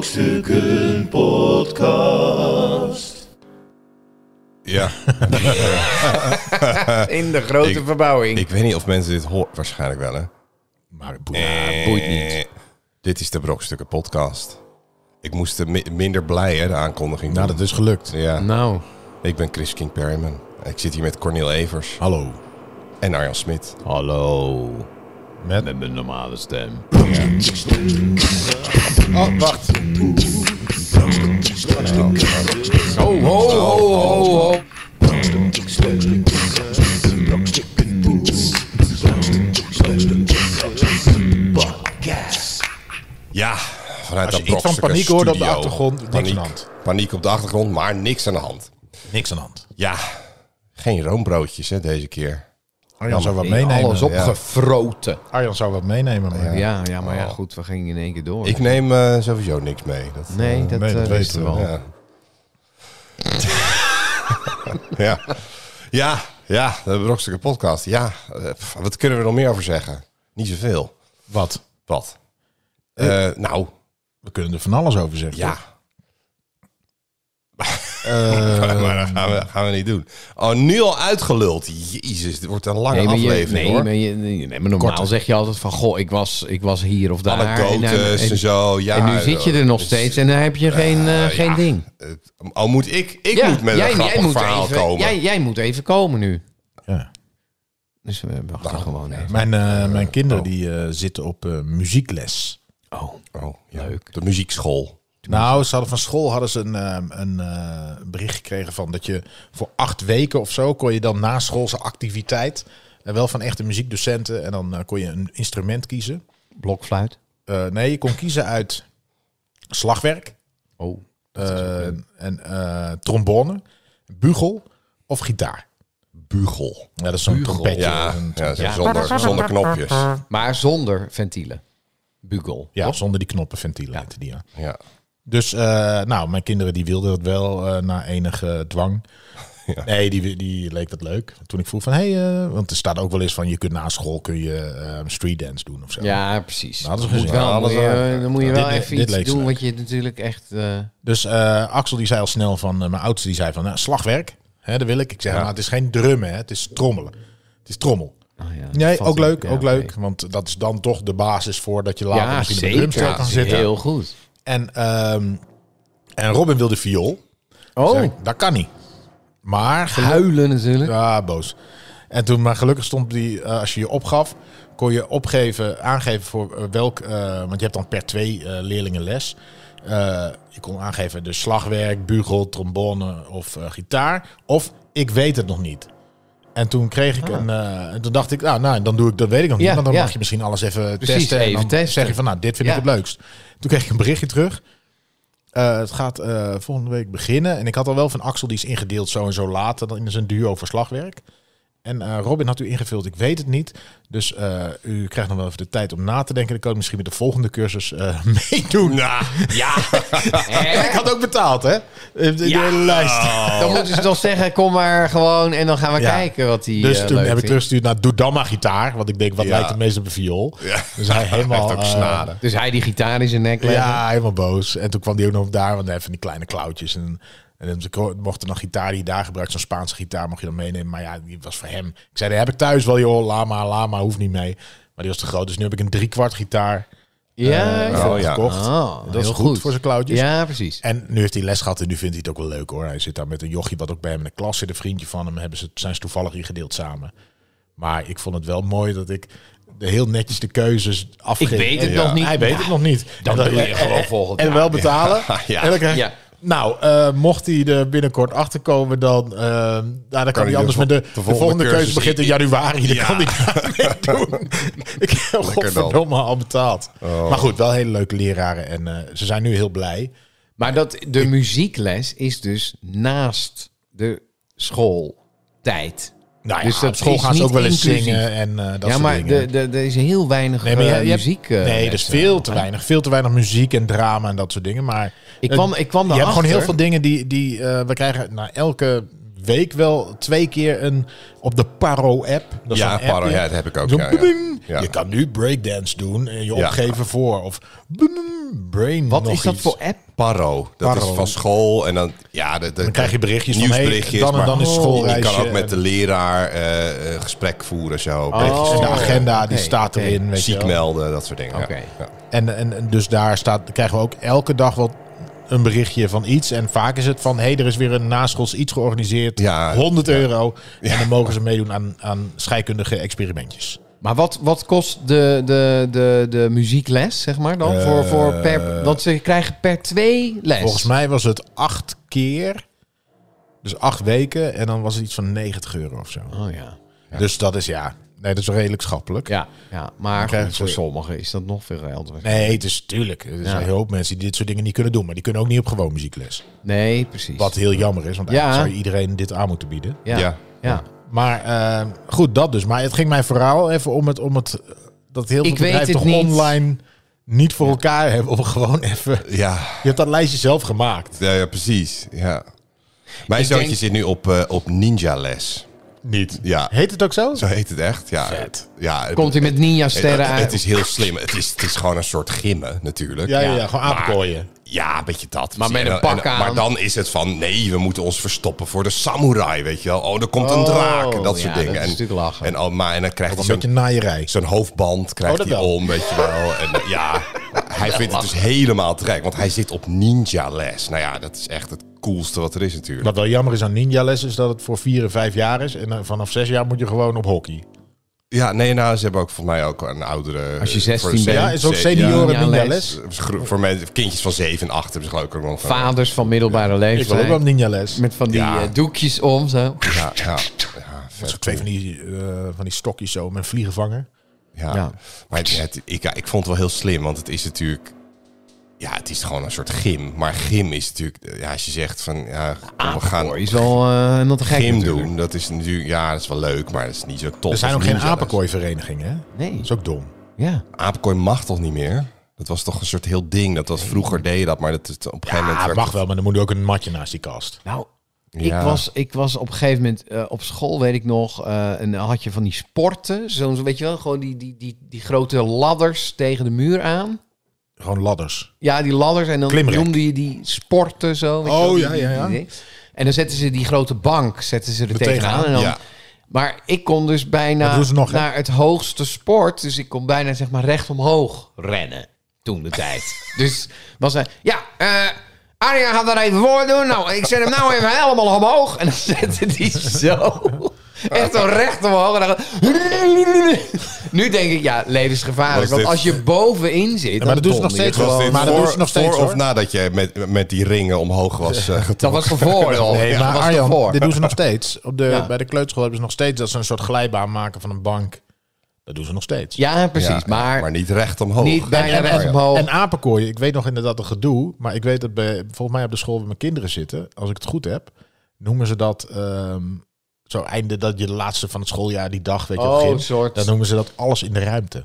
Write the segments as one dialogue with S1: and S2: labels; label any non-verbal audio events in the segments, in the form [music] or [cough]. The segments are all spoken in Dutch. S1: Brokstukken Podcast.
S2: Ja,
S3: In de grote
S2: Ik-
S3: verbouwing.
S2: ik weet niet of mensen dit horen. Waarschijnlijk wel, hè?
S4: Maar het boeit-
S2: Eh,
S4: boeit niet.
S2: Dit is de Brokstukken podcast. Ik moest er mi- minder blij, hè, de aankondiging.
S4: Nou,
S2: doen.
S4: dat is gelukt.
S2: Ja,
S3: Nou,
S2: ik ben Chris King Perryman. Ik zit hier met Cornel Evers
S4: Hallo. Oh.
S2: en Arjan Smit.
S5: Hallo,
S4: Met...
S5: met mijn normale stem.
S4: Oh, wacht.
S3: ho, ho, ho, ho, ho.
S2: Ja, vanuit
S4: Als
S2: dat
S4: je iets van
S2: Brokstukken
S4: paniek hoorde op de
S2: studio.
S4: achtergrond, niks
S2: paniek,
S4: aan de hand.
S2: Paniek op de achtergrond, maar niks aan de hand.
S4: Niks aan de hand.
S2: Ja, geen roombroodjes, hè, deze keer.
S4: Arjan zou wat
S3: Nee,
S4: meenemen.
S3: alles
S4: Ja.
S3: opgefroten.
S4: Arjan zou wat meenemen, maar...
S3: Ja, ja, maar ja,
S4: Oh.
S3: goed, we gingen in één keer door.
S2: Ik neem eh, sowieso niks mee. Dat,
S3: nee, dat,
S4: Oh, nee,
S3: eh,
S4: dat
S3: wisten
S4: weten we,
S3: we al.
S2: Ja. [laughs] ja. Ja, ja, de Brokstukken podcast. Ja, eh, pff, wat kunnen we er nog meer over zeggen? Niet zoveel.
S4: Wat?
S2: Wat? Eh, nou,
S4: We kunnen er van alles over zeggen.
S2: [laughs] ja.
S3: Eh,
S2: maar dat gaan we, gaan we niet doen. Oh, nu al uitgeluld. Jezus, dit wordt een lange
S3: Nee, maar, je,
S2: aflevering
S3: nee,
S2: hoor.
S3: maar, je, nee, nee, maar normaal
S4: Korter.
S3: zeg je altijd van... Goh, ik was, ik was hier of daar. en, dan-
S2: Anekdotes en,
S3: en- eh,
S2: zo. Ja,
S3: en nu zit je er nog
S2: dus,
S3: steeds en dan heb je geen, eh, geen
S2: ja,
S3: ding.
S2: eh, oh, moet ik? Ik moet met een grappig verhaal
S3: even,
S2: komen.
S3: Jij, jij moet even komen nu.
S4: Ja.
S3: Dus we wachten gewoon even.
S4: Mijn, eh, mijn kinderen die eh, zitten op eh, muziekles.
S3: Oh,
S2: Oh, ja.
S3: Leuk.
S2: De muziekschool.
S4: Nou, ze hadden van school hadden ze een, ehm, een eh, bericht gekregen van dat je voor acht weken of zo kon je dan na schoolse activiteit en wel van echte muziekdocenten en dan eh, kon je een instrument kiezen.
S3: blokfluit.
S4: Eh, nee, je kon kiezen uit slagwerk,
S3: Oh,
S4: eh, en eh, trombone, bugel of gitaar.
S2: Bugel.
S4: Ja, dat is zo'n trompetje.
S2: Ja,
S4: Een trom-
S2: ja, zo
S3: Ja.
S2: Zonder, zonder knopjes.
S3: maar zonder ventielen. Bugel.
S4: ja, zonder die knoppenventielen heette die. Ja.
S2: Ja.
S4: Dus, eh, nou, mijn kinderen die wilden dat wel eh, na enige dwang.
S2: [laughs] Ja.
S4: Nee, die, die leek dat leuk. Toen ik vroeg van, hé, hey, eh, want er staat ook wel eens van, je kunt na school kun je eh, street dance doen of zo.
S3: Ja, precies.
S4: Nou, dat is
S3: Dan moet
S4: gezien.
S3: wel,
S2: Ja, dat
S3: moet
S2: is
S3: je,
S2: waar.
S3: dan moet je
S4: Ja,
S3: wel
S4: dit-
S3: even
S4: dit leek
S3: iets
S4: ze
S3: doen
S4: leuk.
S3: wat je natuurlijk echt... eh,
S4: Dus eh, Axel die zei al snel van, eh, mijn oudste die zei van, nou, slagwerk, hè, dat wil ik. Ik zeg, maar het is geen drummen, hè, het is trommelen. Het is trommel.
S3: oh ja, dat
S4: Nee,
S3: valt
S4: ook
S3: in.
S4: leuk,
S3: Ja,
S4: ook
S3: oké.
S4: leuk. Want dat is dan toch de basis voor dat je later
S3: Ja,
S4: misschien op een drumstel
S3: zeker.
S4: kan zitten.
S3: Heel goed.
S4: En, ehm, en Robin wilde viool. Zeg
S3: Oh,
S4: ik, dat kan niet. Maar gelu-
S3: huilen natuurlijk.
S4: Ja, boos. En toen, maar gelukkig stond die, eh, als je je opgaf, kon je opgeven, aangeven voor eh, welk, eh, want je hebt dan per twee eh, leerlingen les. Eh, je kon aangeven de slagwerk, bugel, trombone of eh, gitaar. Of ik weet het nog niet. En toen kreeg ik een, eh, en toen dacht ik, nou, nou, dan doe ik dat weet ik nog niet.
S3: Ah. Ja,
S4: want dan
S3: ja.
S4: mag je misschien alles even
S3: Precies,
S4: testen. En
S3: even
S4: dan
S3: testen.
S4: zeg je van, nou, dit vind
S3: Ja.
S4: ik het leukst. Toen kreeg ik een berichtje terug. Eh, het gaat eh, volgende week beginnen. En ik had al wel van Axel, die is ingedeeld zo en zo later dan in zijn duo verslagwerk. En eh, Robin had u ingevuld, ik weet het niet. Dus eh, u krijgt nog wel even de tijd om na te denken. Dan kan ik misschien met de volgende cursus eh, [laughs] meedoen.
S2: Nou. ja. [laughs]
S4: En ik had ook betaald, hè? In de hele lijst.
S3: Eh, Dan moeten ze toch zeggen, kom maar gewoon en dan gaan we
S4: Ja.
S3: kijken wat die
S4: Dus
S3: eh,
S4: toen
S3: leuk
S4: heb ik
S3: vindt.
S4: teruggestuurd naar Doe dan maar gitaar. Want ik denk, wat
S2: Ja.
S4: lijkt het meest op een viool?
S2: Ja.
S4: Dus
S2: [laughs]
S4: hij helemaal...
S2: Hij heeft
S4: eh,
S2: ook snaren.
S3: Dus hij die gitaar in zijn nek leggen.
S4: ja, helemaal boos. En toen kwam die ook nog daar, want hij heeft van die kleine klauwtjes. En, en dan mocht er nog gitaar die je daar gebruikt, zo'n Spaanse gitaar, mocht je dan meenemen. Maar ja, die was voor hem. Ik zei, die heb ik thuis wel, joh. Lama, lama, hoeft niet mee. Maar die was te groot. Dus nu heb ik een driekwart gitaar
S3: Ja,
S4: eh,
S3: ja.
S2: Oh, ja.
S4: gekocht.
S3: Oh,
S4: dat is
S3: heel
S4: goed,
S3: goed.
S4: voor zijn klauwtjes.
S3: Ja, precies.
S4: En nu heeft hij les gehad en nu vindt hij het ook wel leuk hoor. Hij zit daar met een jochie wat ook bij hem in de klas zit. Een vriendje van hem hebben ze, zijn ze toevallig ingedeeld samen. Maar ik vond het wel mooi dat ik de- heel netjes de keuzes afgeef.
S3: Ik weet het
S4: En-
S3: nog niet.
S4: Hij weet het nog niet.
S3: dan
S4: En
S3: doe je gewoon
S4: en-
S3: volgend
S4: En
S3: jaar.
S4: wel betalen.
S2: Ja.
S4: En dan krijg je-
S3: Ja.
S4: Nou, eh, mocht hij er binnenkort achter komen, dan, eh, nou, dan kan,
S2: hij
S4: hij anders
S2: de
S4: met de,
S2: vol-
S4: de volgende, keuze, begint in januari. Dan kan hij daar mee
S3: [laughs]
S4: doen. ik heb
S2: Lekker dan.
S4: godverdomme al betaald.
S3: Oh.
S4: Maar goed, wel hele leuke leraren en eh, ze zijn nu heel blij.
S3: Maar dat, de muziekles is dus naast de schooltijd.
S4: Nou ja,
S3: Dus dat
S4: op school
S3: is
S4: gaan ze ook
S3: niet
S4: wel eens
S3: inclusief.
S4: zingen en eh, dat
S3: ja,
S4: soort
S3: maar
S4: dingen.
S3: de- de- er is heel weinig
S4: nee, maar
S3: eh,
S4: je- je hebt-
S3: muziek. eh,
S4: nee, er is
S3: les,
S4: veel
S3: eh.
S4: te weinig. Veel te weinig muziek en drama en dat soort dingen. Maar
S3: Ik
S4: eh,
S3: kwam, ik kwam
S4: je hebt
S3: daarachter.
S4: gewoon heel veel dingen die, die eh, we krijgen. Na elke week wel twee keer een op de Paro-app. Dat is
S2: Ja,
S4: zo'n
S2: Paro,
S4: appje.
S2: ja, dat heb ik ook,
S4: Zo'n
S2: ja, ja.
S4: bling.
S2: Ja.
S4: Je kan nu breakdance doen en je
S2: Ja.
S4: opgeven voor. Of bling, brain
S3: Wat
S4: nog
S3: is dat
S4: iets.
S3: voor app?
S2: Paro. Dat
S4: Paro.
S2: is van school. En dan, ja, de, de-
S4: Dan krijg je berichtjes van,
S2: nieuwsberichtjes.
S4: hey, dan en dan
S2: maar
S4: is
S2: je- Je
S4: schoolreisje
S2: kan ook met de
S4: en-
S2: leraar eh, eh, gesprek voeren. Zo. Berichtjes
S4: En de
S3: Oh,
S4: agenda, die
S3: oké,
S4: staat
S3: oké.
S4: erin. Weet je
S2: ziek
S4: wel.
S2: melden, dat soort dingen. ja.
S3: Oké.
S2: Ja.
S4: En, en, en dus daar staat, krijgen we ook elke dag wel een berichtje van iets. En vaak is het van, hé, hey, er is weer een naschools iets georganiseerd.
S2: Ja,
S4: 100 euro. En dan mogen ze meedoen aan, aan scheikundige experimentjes.
S3: Maar wat, wat kost de, de, de, de muziekles, zeg maar dan? voor, voor per, want ze krijgen per twee les.
S4: Eh, Volgens mij was het acht keer. Dus acht weken. En dan was het iets van 90 euro of zo.
S3: Oh ja.
S4: Dus dat is ja, nee, dat is redelijk schappelijk.
S3: Ja, ja maar
S4: krijgen
S3: goed,
S4: ze-
S3: voor sommigen is dat nog veel geld. Nee,
S4: Nee, het is tuurlijk. Er zijn
S3: Ja.
S4: heel veel mensen die dit soort dingen niet kunnen doen. Maar die kunnen ook niet op gewoon muziekles.
S3: precies.
S4: Wat heel jammer is, want
S3: Ja.
S4: eigenlijk zou je iedereen dit aan moeten bieden.
S3: Ja.
S2: Ja.
S3: Ja.
S4: Maar eh, goed, dat dus. Maar het ging mij vooral even om het, om het dat heel veel
S3: Ik weet
S4: bedrijven
S3: het
S4: toch
S3: niet.
S4: online niet voor elkaar hebben. Om gewoon even...
S2: Ja.
S4: Je hebt dat lijstje zelf gemaakt.
S2: Ja, ja, precies. Ja. Mijn zoontje
S3: denk-
S2: zit nu op, eh, op ninja les.
S4: Niet.
S2: Ja,
S4: Heet het ook zo?
S2: zo heet het echt. Ja, ja het-
S3: Komt hij met ninja-sterren
S2: het,
S3: uit?
S2: het is heel slim. Het is, het is gewoon een soort gimmen natuurlijk.
S4: Ja, ja, ja,
S3: Ja.
S4: gewoon apenkooien.
S2: Ja, een beetje dat.
S3: Maar met
S2: Dus En dan-
S3: een pak
S2: en-
S3: aan.
S2: Maar dan is het van, nee, we moeten ons verstoppen voor de samurai, weet je wel. Oh, er komt een
S4: Oh,
S2: draak, dat
S3: ja,
S2: soort
S3: dat
S2: dingen.
S3: is
S2: en,
S3: natuurlijk lachen.
S2: En, al, maar, en dan krijgt
S4: Wat
S2: hij
S4: een
S2: zo'n
S4: beetje naaierij.
S2: zo'n hoofdband krijgt
S4: Oh, dat
S2: hij
S4: wel.
S2: om, weet je wel. En, eh, ja, hij vindt het dus helemaal te gek, want hij zit op ninja les. Nou ja, dat is echt het coolste wat er is natuurlijk.
S4: Wat wel jammer is aan ninja les is dat het voor vier en vijf jaar is. En eh, vanaf zes jaar moet je gewoon op hockey.
S2: Ja, nee, nou, ze hebben ook voor mij ook een oudere...
S3: Als je
S2: eh,
S3: 16
S2: voor de-
S3: bent.
S4: Ja, is ook
S2: ze-
S4: senioren
S3: Ja,
S4: ninja
S3: les.
S4: les.
S2: ja, gro- voor mensen, kindjes van 7 en 8 hebben ze geloof ik ook nog. een-
S3: Vaders van middelbare
S4: Ik wil ook
S3: leeftijd.
S4: wel ninja les.
S3: met van die
S2: Ja.
S3: eh, doekjes om, zo.
S2: Ja, ja, ja, vet.
S4: Twee van die, eh, van die stokjes zo met een vliegenvanger.
S2: Ja.
S3: Ja.
S2: Maar het, het- ik, ik vond het wel heel slim, want het is natuurlijk... Ja, het is gewoon een soort gym. Maar gym is natuurlijk... Ja, als je zegt van... Ja, kom, we gaan
S3: Apenkooi is wel eh not te gek
S2: gym
S3: natuurlijk.
S2: doen. Dat is natuurlijk... Ja, dat is wel leuk, maar dat is niet zo tof.
S4: Er zijn
S2: als
S4: ook geen
S2: ninja's.
S4: apenkooiverenigingen, hè? Dat
S3: Nee,
S4: is ook dom.
S3: ja.
S2: Apenkooi mag toch niet meer? Dat was toch een soort heel ding. Dat was vroeger deed je dat, maar dat is op een gegeven moment...
S4: Ja,
S2: werd
S4: mag
S2: het-
S4: wel, maar dan moet er ook een matje naast die kast.
S3: Nou,
S2: Ja.
S3: ik, was, ik was op een gegeven moment eh, op school, weet ik nog, eh en dan had je van die sporten. Zo'n, zo- weet je wel, gewoon die, die, die, die grote ladders tegen de muur aan.
S4: Gewoon ladders.
S3: Ja, die ladders en dan
S4: Klimrek.
S3: noemde je die sporten zo. weet je
S4: Oh,
S3: wel, die-
S4: ja, ja, ja.
S3: die- die- en dan zetten ze die grote bank zetten ze er
S4: Er tegenaan,
S3: tegenaan. En dan,
S2: ja.
S3: Maar ik kon dus
S4: Dat
S3: bijna
S4: doen ze nog, hè?
S3: naar het hoogste sport. Dus ik kon bijna zeg maar recht omhoog rennen. Toen
S4: [laughs]
S3: de tijd. dus was hij... Ja, eh Arjan gaat dat even voordoen. Nou, ik zet hem nou even helemaal omhoog. En dan zette hij
S4: [laughs]
S3: zo... Echt zo recht omhoog. En dan... Nu denk ik, ja, levensgevaarlijk.
S2: Was
S3: Want
S2: dit-
S3: als je bovenin zit...
S4: Ja, maar
S3: dan
S4: dat doen ze nog
S3: donder je
S4: steeds wel.
S2: Was dit
S4: Maar dat
S2: voor,
S4: doen ze nog steeds,
S2: voor of
S4: hoor.
S2: nadat je met, met die ringen omhoog
S4: [laughs]
S2: was eh,
S3: Dat was
S2: [laughs]
S3: ervoor al.
S4: Nee,
S3: Ja,
S4: maar
S3: dat was
S4: Arjan,
S3: ervoor.
S4: dit doen ze nog steeds. Op de,
S3: Ja.
S4: Bij de kleuterschool hebben ze nog steeds dat ze een soort glijbaan maken van een bank. Dat doen ze nog steeds.
S3: Ja, precies.
S2: Ja,
S3: maar,
S2: maar niet recht omhoog. oh
S3: niet bijna
S4: en,
S3: recht
S4: en-
S3: omhoog.
S4: en apenkooien, ik weet nog inderdaad het gedoe. Maar ik weet dat bij, volgens mij op de school waar mijn kinderen zitten, als ik het goed heb, noemen ze dat ehm, zo einde dat je de laatste van het schooljaar die dag, weet je, op
S3: Oh,
S4: gym,
S3: een soort-
S4: dan noemen ze dat alles in de ruimte.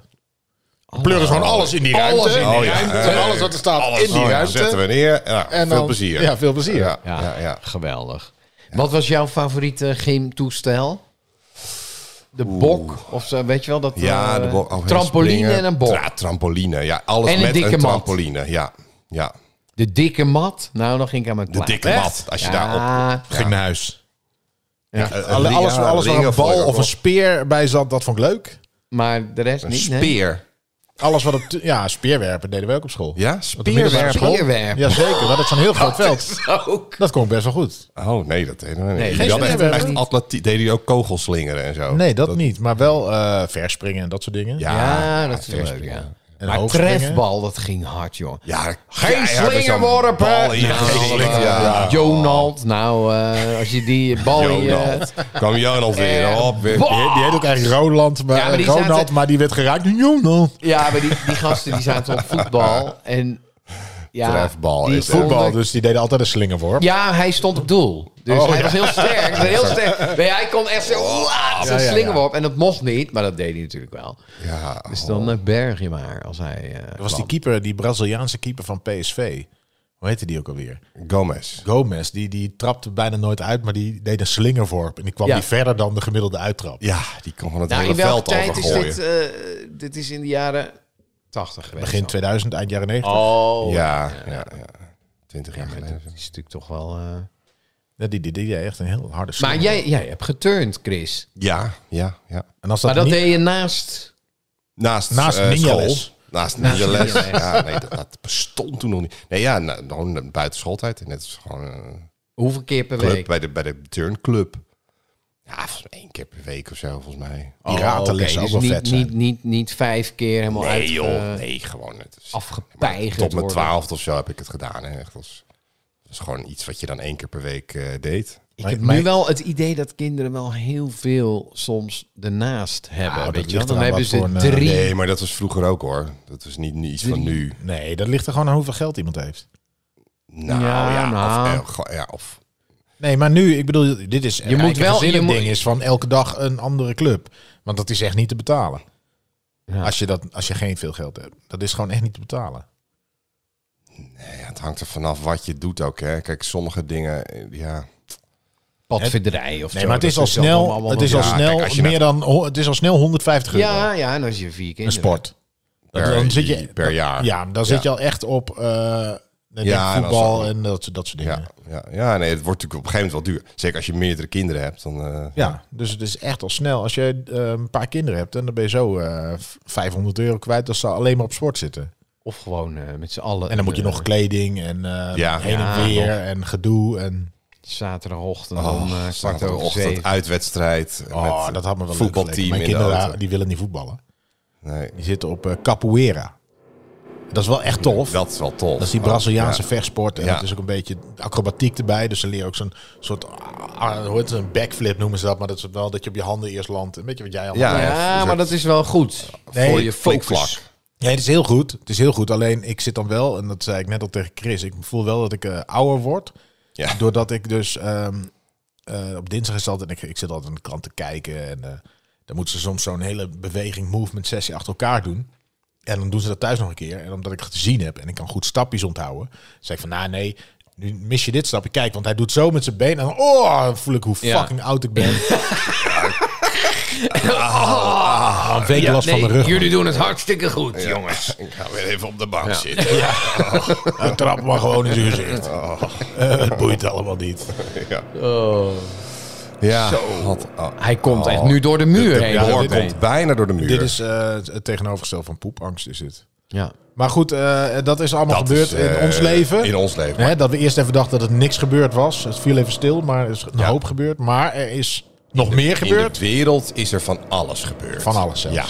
S2: pleuren gewoon
S4: alles in die
S3: ruimte.
S4: in die ruimte. Oh, Alles wat er staat in die ruimte.
S2: oh Zetten we neer. Ja,
S4: En
S2: veel
S4: dan-
S2: plezier.
S4: Ja, veel plezier.
S2: Ja,
S3: Ja,
S2: ja, ja.
S3: geweldig. Wat was jouw favoriete gymtoestel? De bok of zo, weet je wel dat?
S2: Ja,
S3: eh,
S2: de bo- oh,
S3: trampoline
S2: springen.
S3: en een bok.
S2: Ja, trampoline. Ja, alles
S3: En een
S2: met
S3: dikke
S2: een
S3: mat.
S2: trampoline. Ja, ja.
S3: De dikke mat. Nou, dan ging ik aan mijn
S2: De
S3: plaat.
S2: dikke
S4: Echt?
S2: mat. Als je
S3: ja,
S2: daarop...
S4: Ging naar huis.
S2: Ja,
S4: Alle-
S2: eh,
S4: alles
S2: ja,
S4: alles waar
S2: ringen
S4: een
S2: vond ik
S4: bal
S2: ook
S4: of
S2: wel-
S4: een speer bij zat, dat vond ik leuk.
S3: maar de rest
S2: Een
S3: niet. nee.
S2: speer.
S4: Alles wat op... tu- Ja, speerwerpen deden we ook op school.
S2: Ja,
S4: Op de middelbare
S2: speerwerpen.
S4: school.
S3: Speerwerpen.
S4: Jazeker, we hadden zo'n heel groot
S2: [laughs]
S4: veld.
S3: Ook.
S4: Dat kon best wel goed.
S2: Oh, nee, dat deden we niet.
S3: Nee,
S2: Jullie
S3: geen
S2: hadden echt,
S4: speerwerpen.
S2: echt atletiek. Deden jullie ook kogelslingeren en zo?
S4: Nee, dat, niet. Maar wel eh verspringen en dat soort dingen.
S2: Oh, Ja,
S3: Ja, dat is
S2: vers-
S3: leuk. Ja.
S4: En
S3: maar
S4: hoogspringen.
S3: trefbal, dat ging hard, joh.
S2: Ja,
S3: Geen slingerworpen.
S2: Nou,
S3: Nou,
S2: ja.
S3: eh, Jonald, nou, eh, als je die bal in je-
S2: Jonald. Kwam Jonald weer.
S3: Eh,
S2: Op, weer.
S3: bo-
S4: Die, die heet ook eigenlijk Roland, maar, eh,
S3: Ja, maar die
S4: Ronald,
S3: zaten-
S4: maar die werd geraakt door Jonald.
S3: Ja, maar die, die gasten die zaten op voetbal en ja,
S2: Trefbal is
S3: die
S2: het.
S3: vonden-
S4: Voetbal, dus die deden altijd een slingerworp.
S3: Ja, hij stond op doel. Dus
S4: Oh,
S3: hij
S4: ja.
S3: was heel sterk. heel sterk. Nee, hij kon echt zo laat
S4: Ja, ja, ja.
S3: slingerworp. En dat mocht niet, maar dat deed hij natuurlijk wel. Oh.
S2: Ja,
S3: Dus dan eh, berg je maar als hij. eh,
S4: Dat was die
S3: kwam.
S4: keeper, die Braziliaanse keeper van PSV. Hoe heette die ook alweer?
S2: Gomez.
S4: Gomez, die, die trapte bijna nooit uit, maar die deed een slingerworp. En die kwam
S3: Ja.
S4: die verder dan de gemiddelde uittrap.
S2: Ja, die kan van het
S3: Nou,
S2: hele
S3: in welke
S2: veld
S3: tijd is
S2: overgooien.
S3: dit? eh, dit is in de jaren 80 geweest.
S4: Begin
S3: dan.
S4: 2000, eind jaren 90.
S3: Oh, ja.
S2: ja, ja, ja. 20 jaar
S3: maar
S2: geleden.
S3: dat is natuurlijk toch wel. eh.
S4: Ja, die, die, die deed echt een heel harde
S3: Maar
S4: slinger.
S3: jij, jij hebt geturnd, Chris.
S2: Ja, ja, ja.
S4: en als dat,
S3: Maar dat
S4: niet,
S3: deed je naast.
S2: Naast,
S4: Naast
S2: eh,
S4: ninjales.
S2: school. Naast
S3: Naast
S2: ninjales.
S3: ninjales.
S2: Ja, nee, dat, dat bestond toen nog niet. Nee, ja, nou, gewoon buiten schooltijd. Net als gewoon een
S3: Hoeveel keer per
S2: club
S3: week?
S2: bij de, bij de turnclub. Ja, volgens mij één keer per week of zo, volgens mij.
S4: die ratenlessen
S3: oké,
S4: ook
S3: dus
S4: wel vet
S3: niet,
S4: zijn.
S3: Niet, niet, niet vijf keer helemaal
S2: Nee,
S3: uit,
S2: joh.
S3: eh,
S2: Nee, gewoon. Het is-
S3: afgepeigerd
S2: Tot mijn
S3: worden.
S2: twaalfde of zo heb ik het gedaan. Hè. Echt als, dat is gewoon iets wat je dan één keer per week eh, deed.
S3: Ik
S4: Maar-
S3: heb
S4: maar-
S3: nu wel het idee dat kinderen wel heel veel soms ernaast hebben.
S4: dat
S3: weet je wel?
S4: ligt
S3: Dan
S4: eraan
S3: hebben
S4: wat
S3: ze
S4: voor een, eh,
S3: drie.
S2: Nee, maar dat was vroeger ook hoor. Dat was niet, niet iets van nu.
S4: Nee, dat ligt er gewoon aan hoeveel geld iemand heeft.
S2: Nou
S3: Ja,
S2: ja,
S3: nou.
S2: Of, eh, go- ja, of
S4: Nee, maar nu, ik bedoel, dit is je
S3: moet
S4: moet
S3: wel-
S4: wel
S3: je
S4: een
S3: moet-
S4: ding is van elke dag een andere club, want dat is echt niet te betalen.
S3: Ja.
S4: Als je dat, als je geen veel geld hebt, dat is gewoon echt niet te betalen.
S2: ja, het hangt er vanaf wat je doet ook. Hè. Kijk, sommige dingen, eh, ja.
S3: padvinderij of
S4: Nee,
S3: zo.
S4: maar het is
S3: Dat
S4: al
S3: dan
S4: snel,
S3: allemaal
S4: het is
S3: nog-
S4: al
S2: Ja,
S4: snel
S2: kijk, als je
S4: meer dan, ho- het is al snel 150 euro.
S3: Ja, ja, en als je vier kinderen...
S4: een sport.
S2: Per,
S4: dan zit je
S2: per jaar.
S4: Ja, dan zit je al echt op eh, ik
S2: Ja,
S4: denk
S2: en als
S4: voetbal
S2: dat-
S4: en dat, dat soort dingen.
S2: Ja,
S4: Ja.
S2: ja, ja, nee, het wordt natuurlijk op een gegeven moment wel duur. Zeker als je meerdere kinderen hebt, dan... eh,
S4: dus het is echt al snel. Als je eh, een paar kinderen hebt en dan ben je zo eh, v- 500 euro kwijt, dat ze alleen maar op sport zitten.
S3: Of gewoon eh, met z'n allen.
S4: En dan moet je
S3: eh,
S4: nog kleding en eh,
S2: Ja.
S4: heen
S3: Ja,
S4: en weer en gedoe. En,
S3: Zaterdagochtend om
S2: Oh,
S3: eh, kwart
S2: zaterdagochtend,
S3: over zeven.
S2: uitwedstrijd.
S4: oh,
S2: met
S4: dat had me wel leuk geleken.
S2: voetbalteam
S4: Mijn
S2: in de
S4: kinderen
S2: auto.
S4: die willen niet voetballen.
S2: Nee,
S4: Die zitten op eh, capoeira. Dat is wel echt tof.
S2: dat is wel tof.
S4: Dat is die Braziliaanse
S2: Oh, ja.
S4: vechtsport. En
S2: Ja.
S4: dat is ook een beetje acrobatiek erbij. Dus ze leren ook zo'n soort ah, ah, hoe heet het, een backflip noemen ze dat. Maar dat is wel dat je op je handen eerst landt. Een beetje wat jij al
S2: Ja,
S4: had.
S3: Ja, maar dat is wel goed.
S4: Dus Nee,
S3: voor je
S2: flikvlak.
S3: focus.
S4: Nee, het is heel goed. Het is heel goed. Alleen ik zit dan wel, en dat zei ik net al tegen Chris. Ik voel wel dat ik eh, ouder word.
S2: Ja.
S4: Doordat ik dus ehm, eh, op dinsdag is het altijd, ik, ik zit altijd aan de krant te kijken. En eh, dan moeten ze soms zo'n hele beweging, movement sessie achter elkaar doen. En dan doen ze dat thuis nog een keer. En omdat ik het gezien heb en ik kan goed stapjes onthouden, zei ik van, nou nee, nu mis je dit stapje. Kijk, want hij doet zo met zijn been. En dan, oh, dan voel ik hoe
S3: [laughs] Ja.
S4: fucking oud ik ben. Ah, een week last van mijn rug.
S3: jullie doen het hartstikke goed, jongens.
S2: Ik ga weer even op de bank zitten.
S4: Hij trapt maar gewoon in zijn gezicht. Eh, het boeit allemaal niet.
S2: Ja.
S4: Oh.
S2: Ja. Wat- oh.
S3: Hij komt echt nu door de muur heen.
S4: ja,
S2: Hoor
S4: dit-
S2: komt bijna door de muur.
S4: Dit is eh, het tegenovergestelde van poepangst is dit.
S3: Ja.
S4: Maar goed, eh, dat is allemaal
S2: Dat
S4: gebeurd
S2: is, eh,
S4: in ons leven.
S2: In ons leven.
S4: Hè, dat we eerst even dachten dat het niks gebeurd was. Het viel even stil, maar er is een hoop gebeurd. Maar er is nog meer
S2: In
S4: gebeurd.
S2: de wereld is er van alles gebeurd.
S4: Van alles zelfs.
S2: Ja.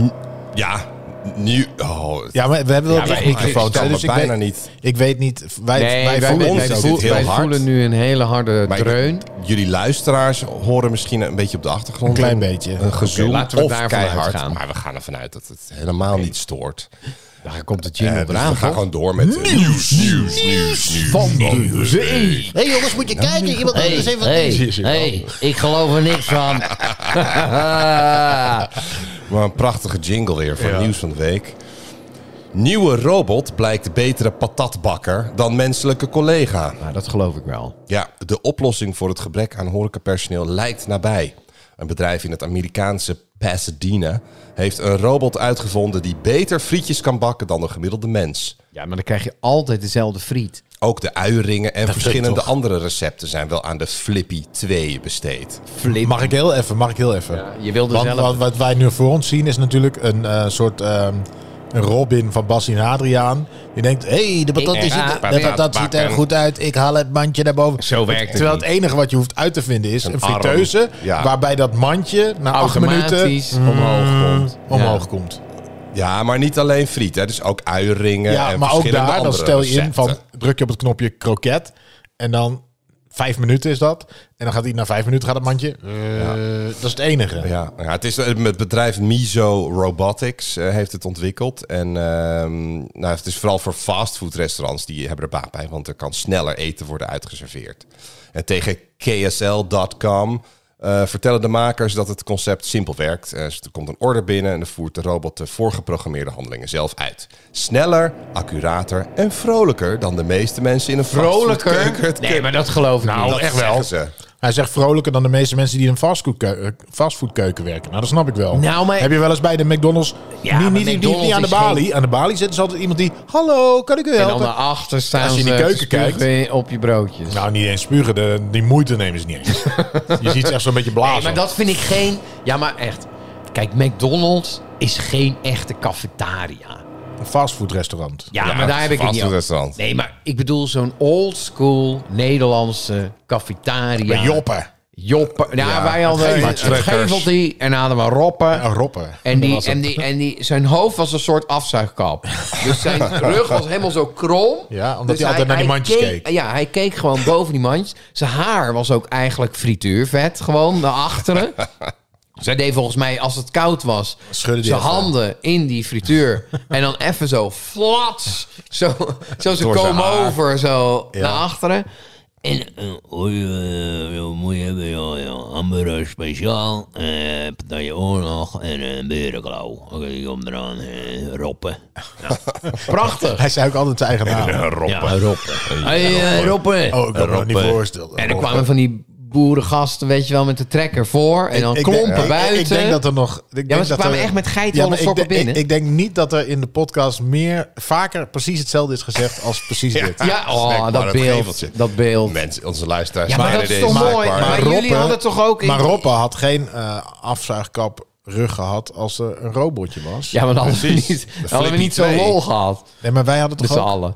S2: N- Ja. Nu. Oh, het-
S4: Ja, maar we hebben wel
S3: Ja, maar ik-
S4: microfoons.
S2: ik
S4: hè, Dus ik
S2: me bijna
S4: weet,
S2: niet.
S4: ik weet niet. Wij,
S3: Nee,
S4: wij,
S3: wij,
S4: voelen
S2: wij-
S4: ons
S2: wij
S4: ook
S2: voelen-
S4: niet.
S2: heel
S3: wij
S2: hard.
S3: voelen nu een hele harde
S2: Maar ik-
S3: dreun.
S2: jullie luisteraars horen misschien een beetje op de achtergrond.
S4: Een klein beetje.
S2: Een gezoem
S3: Oké, laten we
S2: of
S3: daarvan
S2: keihard.
S3: uitgaan.
S2: Maar we gaan ervan uit dat het helemaal niet stoort.
S3: Daar komt het
S2: Eh,
S3: jingle
S2: dus we
S3: eraan,
S2: gaan
S3: toch?
S2: gewoon door met... Nieuws, nieuws, nieuws, nieuws.
S3: Van de zee.
S4: Hé jongens, moet je kijken. Iemand anders heeft wat nieuws.
S3: ik geloof er niks van.
S2: Maar een prachtige jingle weer voor Nieuws van de Week. Nieuwe robot blijkt betere patatbakker dan menselijke collega.
S3: nou, dat geloof ik wel.
S2: Ja, de oplossing voor het gebrek aan horecapersoneel lijkt nabij. Een bedrijf in het Amerikaanse Pasadena heeft een robot uitgevonden die beter frietjes kan bakken dan de gemiddelde mens.
S3: Ja, maar dan krijg je altijd dezelfde friet.
S2: Ook de uieringen en verschillende
S4: toch.
S2: andere recepten zijn wel aan de Flippy 2 besteed.
S3: Flip.
S4: Mag ik heel even? Mag ik heel even?
S3: je wilde
S4: Want
S3: zelf...
S4: wat, wat wij nu voor ons zien is natuurlijk een eh, soort ehm, een Robin van Bas en Adriaan. Die denkt, hé, hey, de patat
S3: Ik
S4: is-
S3: ga
S4: de patat
S2: patat
S4: ziet er
S2: bakken.
S4: goed uit. Ik haal het mandje naar boven.
S3: Zo werkt het
S4: Terwijl het
S3: niet.
S4: enige wat je hoeft uit te vinden is een,
S2: arm.
S4: friteuze.
S2: Ja.
S4: Waarbij dat mandje na acht minuten Mm,
S3: Automatisch omhoog komt.
S4: omhoog
S3: Ja.
S4: komt.
S2: Ja, maar niet alleen friet, hè? dus ook uieringen
S4: Ja,
S2: en
S4: maar ook
S2: verschillende
S4: daar, dan
S2: andere
S4: stel je in
S2: recepten.
S4: van, druk je op het knopje kroket. En dan vijf minuten is dat. En dan gaat hij na vijf minuten gaat het mandje. eh, Dat is het enige.
S2: Ja, ja het, is, eh, het bedrijf Miso Robotics eh, heeft het ontwikkeld. En ehm, nou, het is vooral voor fastfoodrestaurants die hebben er baat bij, want er kan sneller eten worden uitgeserveerd. En tegen KSL.com eh, vertellen de makers dat het concept simpel werkt. Eh, er komt een order binnen en dan voert de robot de voorgeprogrammeerde handelingen zelf uit. Sneller, accurater en vrolijker dan de meeste mensen in een fastfoodkeuken
S3: Vrolijker?
S2: het
S3: Nee,
S2: kunnen.
S3: maar dat geloof ik
S4: Nou,
S3: niet.
S2: Dat
S4: echt wel.
S2: zeggen Ze.
S4: Hij zegt vrolijker dan de meeste mensen die in een fastfoodkeuken, fastfoodkeuken werken. Nou, dat snap ik wel.
S3: Nou, maar-
S4: Heb je wel eens bij de McDonald's...
S3: Ja,
S4: niet,
S3: maar
S4: niet, niet-
S3: McDonald's
S4: niet aan de
S3: is geen-
S4: balie. Aan de balie zit dus altijd iemand die... Hallo, kan ik u
S3: En dan
S4: helpen?
S3: daarachter staan
S4: Als je in
S3: ze
S4: die
S3: te
S4: keuken
S3: spugen op je broodjes.
S4: Nou, niet eens spugen. De, die moeite nemen ze
S3: [laughs]
S4: niet eens. je ziet ze echt zo'n beetje blazen.
S3: Nee, maar dat vind ik geen... Ja, maar echt. Kijk, McDonald's is geen echte cafetaria.
S4: Een fastfoodrestaurant.
S3: Ja,
S2: Ja,
S3: maar daar heb ik het niet over.
S2: fastfoodrestaurant.
S3: Nee, maar ik bedoel zo'n old school Nederlandse cafetaria.
S4: Met joppen.
S3: Joppen. Ja,
S4: Ja,
S3: wij hadden
S4: gevel-
S3: het gevelde die en hadden we roppen.
S4: En roppen.
S3: En,
S4: Dat
S3: die,
S4: was het.
S3: en, die, en die, zijn hoofd was een soort afzuigkap.
S4: [laughs]
S3: Dus zijn rug was helemaal zo krom.
S4: Ja, omdat
S3: Dus
S4: hij altijd naar die mandjes keek.
S3: Ja, hij keek
S4: [laughs]
S3: gewoon boven die mandjes. Zijn haar was ook eigenlijk frituurvet, gewoon naar
S4: [laughs]
S3: achteren. Zij deed volgens mij, als het koud was,
S4: Schudde die
S3: zijn
S4: even.
S3: handen in die frituur. en dan even zo flats. Zo, zo ze
S2: Door zijn
S3: komen
S2: haar.
S3: over, zo naar achteren. En
S5: Oei, uh, moet eh, je hebben, joh, joh. Hamburger speciaal, eh partij oorlog en een berenklauw. Oké, kom eraan, eh, roppen.
S3: prachtig.
S4: Hij zei ook altijd zijn eigen naam.
S5: Ja, roppen.
S3: Hey, eh, Roppe.
S4: Oh, ik kan me dat niet voorstellen.
S3: En er kwamen van die boerengasten, weet je wel, met de trekker voor. En dan
S4: Ik denk-
S3: klompen
S4: ik-
S3: buiten.
S4: Ik, denk dat er nog... Ik denk
S3: maar ze
S4: dat
S3: kwamen
S4: er-
S3: echt met geitenwolle
S4: maar ik
S3: sokken
S4: denk- ik-
S3: binnen.
S4: Ik, denk niet dat er in de podcast meer, vaker precies hetzelfde is gezegd als precies dit.
S3: ja, oh,
S2: snackbar,
S3: dat,
S2: het geveltje.
S3: beeld. Dat beeld.
S2: Mensen, onze luisteraars.
S3: Ja, maar
S2: kennen
S3: dat is
S2: deze
S3: toch mooi?
S2: snackbar.
S3: Maar- jullie hadden toch ook in-
S4: Maar Roppe had geen eh, afzuigkap rug gehad als er een robotje was.
S3: Ja, maar [laughs] dan hadden we
S2: Precies.
S3: niet,
S2: De
S3: hadden we
S2: Flippy
S3: niet zo'n
S2: twee.
S3: lol gehad.
S4: Nee, maar wij hadden
S3: Met
S4: toch
S3: z'n
S4: ook...
S3: allen.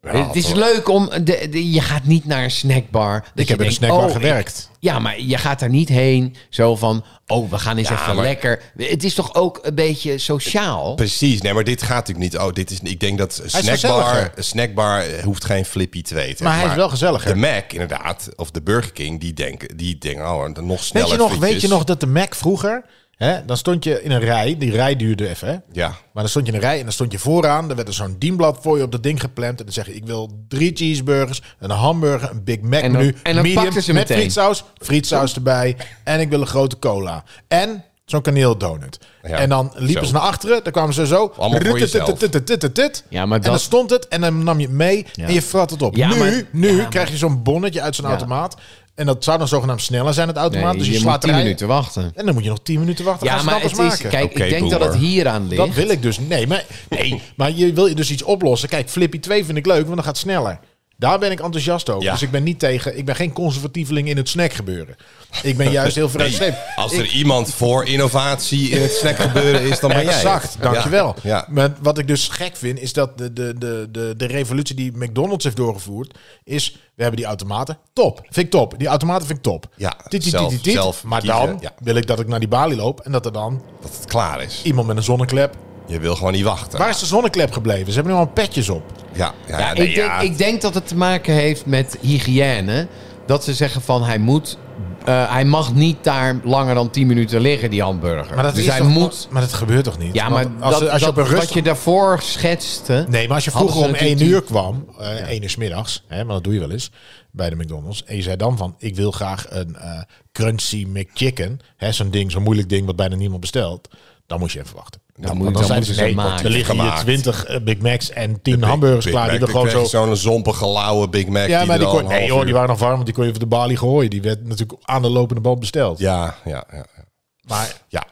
S2: Ja,
S3: het is
S2: toch.
S3: leuk om... De, de- je gaat niet naar een snackbar. dat
S4: Ik
S3: je
S4: heb in een
S3: denkt,
S4: snackbar
S3: oh,
S4: gewerkt.
S3: ik- ja, maar je gaat daar niet heen zo van... Oh, we gaan eens even
S2: maar-
S3: lekker... Het is toch ook een beetje sociaal?
S2: Precies, nee, maar dit gaat natuurlijk niet. Oh, dit is, ik denk dat snackbar,
S4: gezelliger.
S2: snackbar eh, hoeft geen Flippy 2 te
S4: Maar hij is wel gezelliger.
S2: De Mac, inderdaad, of de Burger King, die denken, die denken oh, dan nog sneller
S4: Weet je, nog, weet
S2: frietjes.
S4: je nog dat de Mac vroeger... Hè, dan stond je in een rij. Die rij duurde even, hè?
S2: Ja,
S4: Maar dan stond je in een rij en dan stond je vooraan. Dan werd er zo'n dienblad voor je op dat ding gepland. En dan zeg je, ik wil drie cheeseburgers, een hamburger, een Big Mac
S3: En dan-
S4: menu.
S3: en dan
S4: medium,
S3: pakten ze
S4: met
S3: meteen.
S4: frietsaus, frietsaus erbij. En ik wil een grote cola. En zo'n kaneeldonut.
S2: Ja,
S4: en dan liepen
S2: zo.
S4: ze naar achteren. Dan kwamen ze zo.
S2: Allemaal voor
S4: Rut,
S2: jezelf.
S4: tut, tut, tut, tut, tut.
S3: Ja, maar
S4: En dan
S3: dat-
S4: stond het en dan nam je het mee en je frat het op.
S3: Ja,
S4: nu
S3: maar-
S4: nu krijg je zo'n bonnetje uit zo'n
S3: Ja.
S4: automaat. En dat zou dan zogenaamd sneller zijn, het automaat.
S3: Nee,
S4: dus je,
S3: je moet
S4: slaat de
S3: 10
S4: rij-
S3: minuten wachten.
S4: En dan moet je nog 10 minuten wachten.
S3: Ja,
S4: Gaan ze
S3: maar
S4: dat
S3: het
S4: eens
S3: is...
S4: maken?
S3: Kijk,
S2: Oké,
S3: ik denk dat het
S2: boomer.
S3: hier aan ligt.
S4: Dat wil ik dus. Nee, maar, nee, maar je wil je dus iets oplossen. Kijk, Flippy 2 vind ik leuk, want dan gaat het sneller. Daar ben ik enthousiast over.
S2: Ja.
S4: Dus ik ben niet tegen. Ik ben geen conservatieveling in het snackgebeuren. Ik ben juist heel vooruitstrevend.
S2: als er iemand voor innovatie in het snackgebeuren is, dan ben jij. het.
S4: Exact, dankjewel.
S2: Ja, ja.
S4: Maar wat ik dus gek vind, is dat de, de, de, de, de revolutie die McDonald's heeft doorgevoerd, is we hebben die automaten. Top, vind ik top. Die automaten vind ik top.
S2: Ja,
S4: Tiet, tiet,
S2: zelf-
S4: tiet, tiet.
S2: zelf
S4: maar
S2: kiezen,
S4: dan
S2: ja.
S4: wil ik dat ik naar die balie loop en dat er dan
S2: Dat het klaar is.
S4: iemand met een zonneklep...
S2: Je wil gewoon niet wachten.
S4: Waar is de zonneklep gebleven? Ze hebben nu al petjes op.
S2: Ja, ja,
S3: Ja,
S2: ja, nee,
S3: ik, denk,
S2: ja,
S3: ik denk dat het te maken heeft met hygiëne. Dat ze zeggen van hij moet. eh, hij mag niet daar langer dan 10 minuten liggen, die hamburger.
S4: Maar dat
S3: dus
S4: is
S3: hij
S4: toch-
S3: moet.
S4: Maar dat gebeurt toch niet?
S3: Ja,
S4: Want
S3: maar
S4: als,
S3: dat,
S4: als je
S3: dat,
S4: op een rust...
S3: wat je daarvoor schetste.
S4: Nee, maar als je
S3: hadden
S4: vroeger om
S3: ze natuurlijk
S4: 1 uur kwam, eh 1 uur 's middags, hè, maar dat doe je wel eens bij de McDonald's. En je zei dan van, ik wil graag een eh crunchy McChicken. hè, Zo'n ding, zo'n moeilijk ding wat bijna niemand bestelt. Dan moest je even wachten.
S3: moet- dan
S4: zeiden
S3: moeten ze
S4: nee,
S3: maken.
S4: want er liggen hier
S2: Gemaakt.
S4: 20 eh, Big Macs en 10 hamburgers
S2: Big
S4: klaar.
S2: Mac,
S4: Die er
S2: dan
S4: gewoon
S2: kreeg
S4: zo...
S2: je Zo'n zompige, lauwe Big Mac.
S4: Ja,
S2: die
S4: maar
S2: er
S4: die,
S2: al
S4: kon,
S2: een
S4: nee,
S2: half
S4: joh,
S2: uur-
S4: die waren nog warm, want die kon je van de balie gooien. Die werd natuurlijk aan de lopende band besteld.
S2: Ja, ja, ja. ja.
S4: Maar
S2: Ja.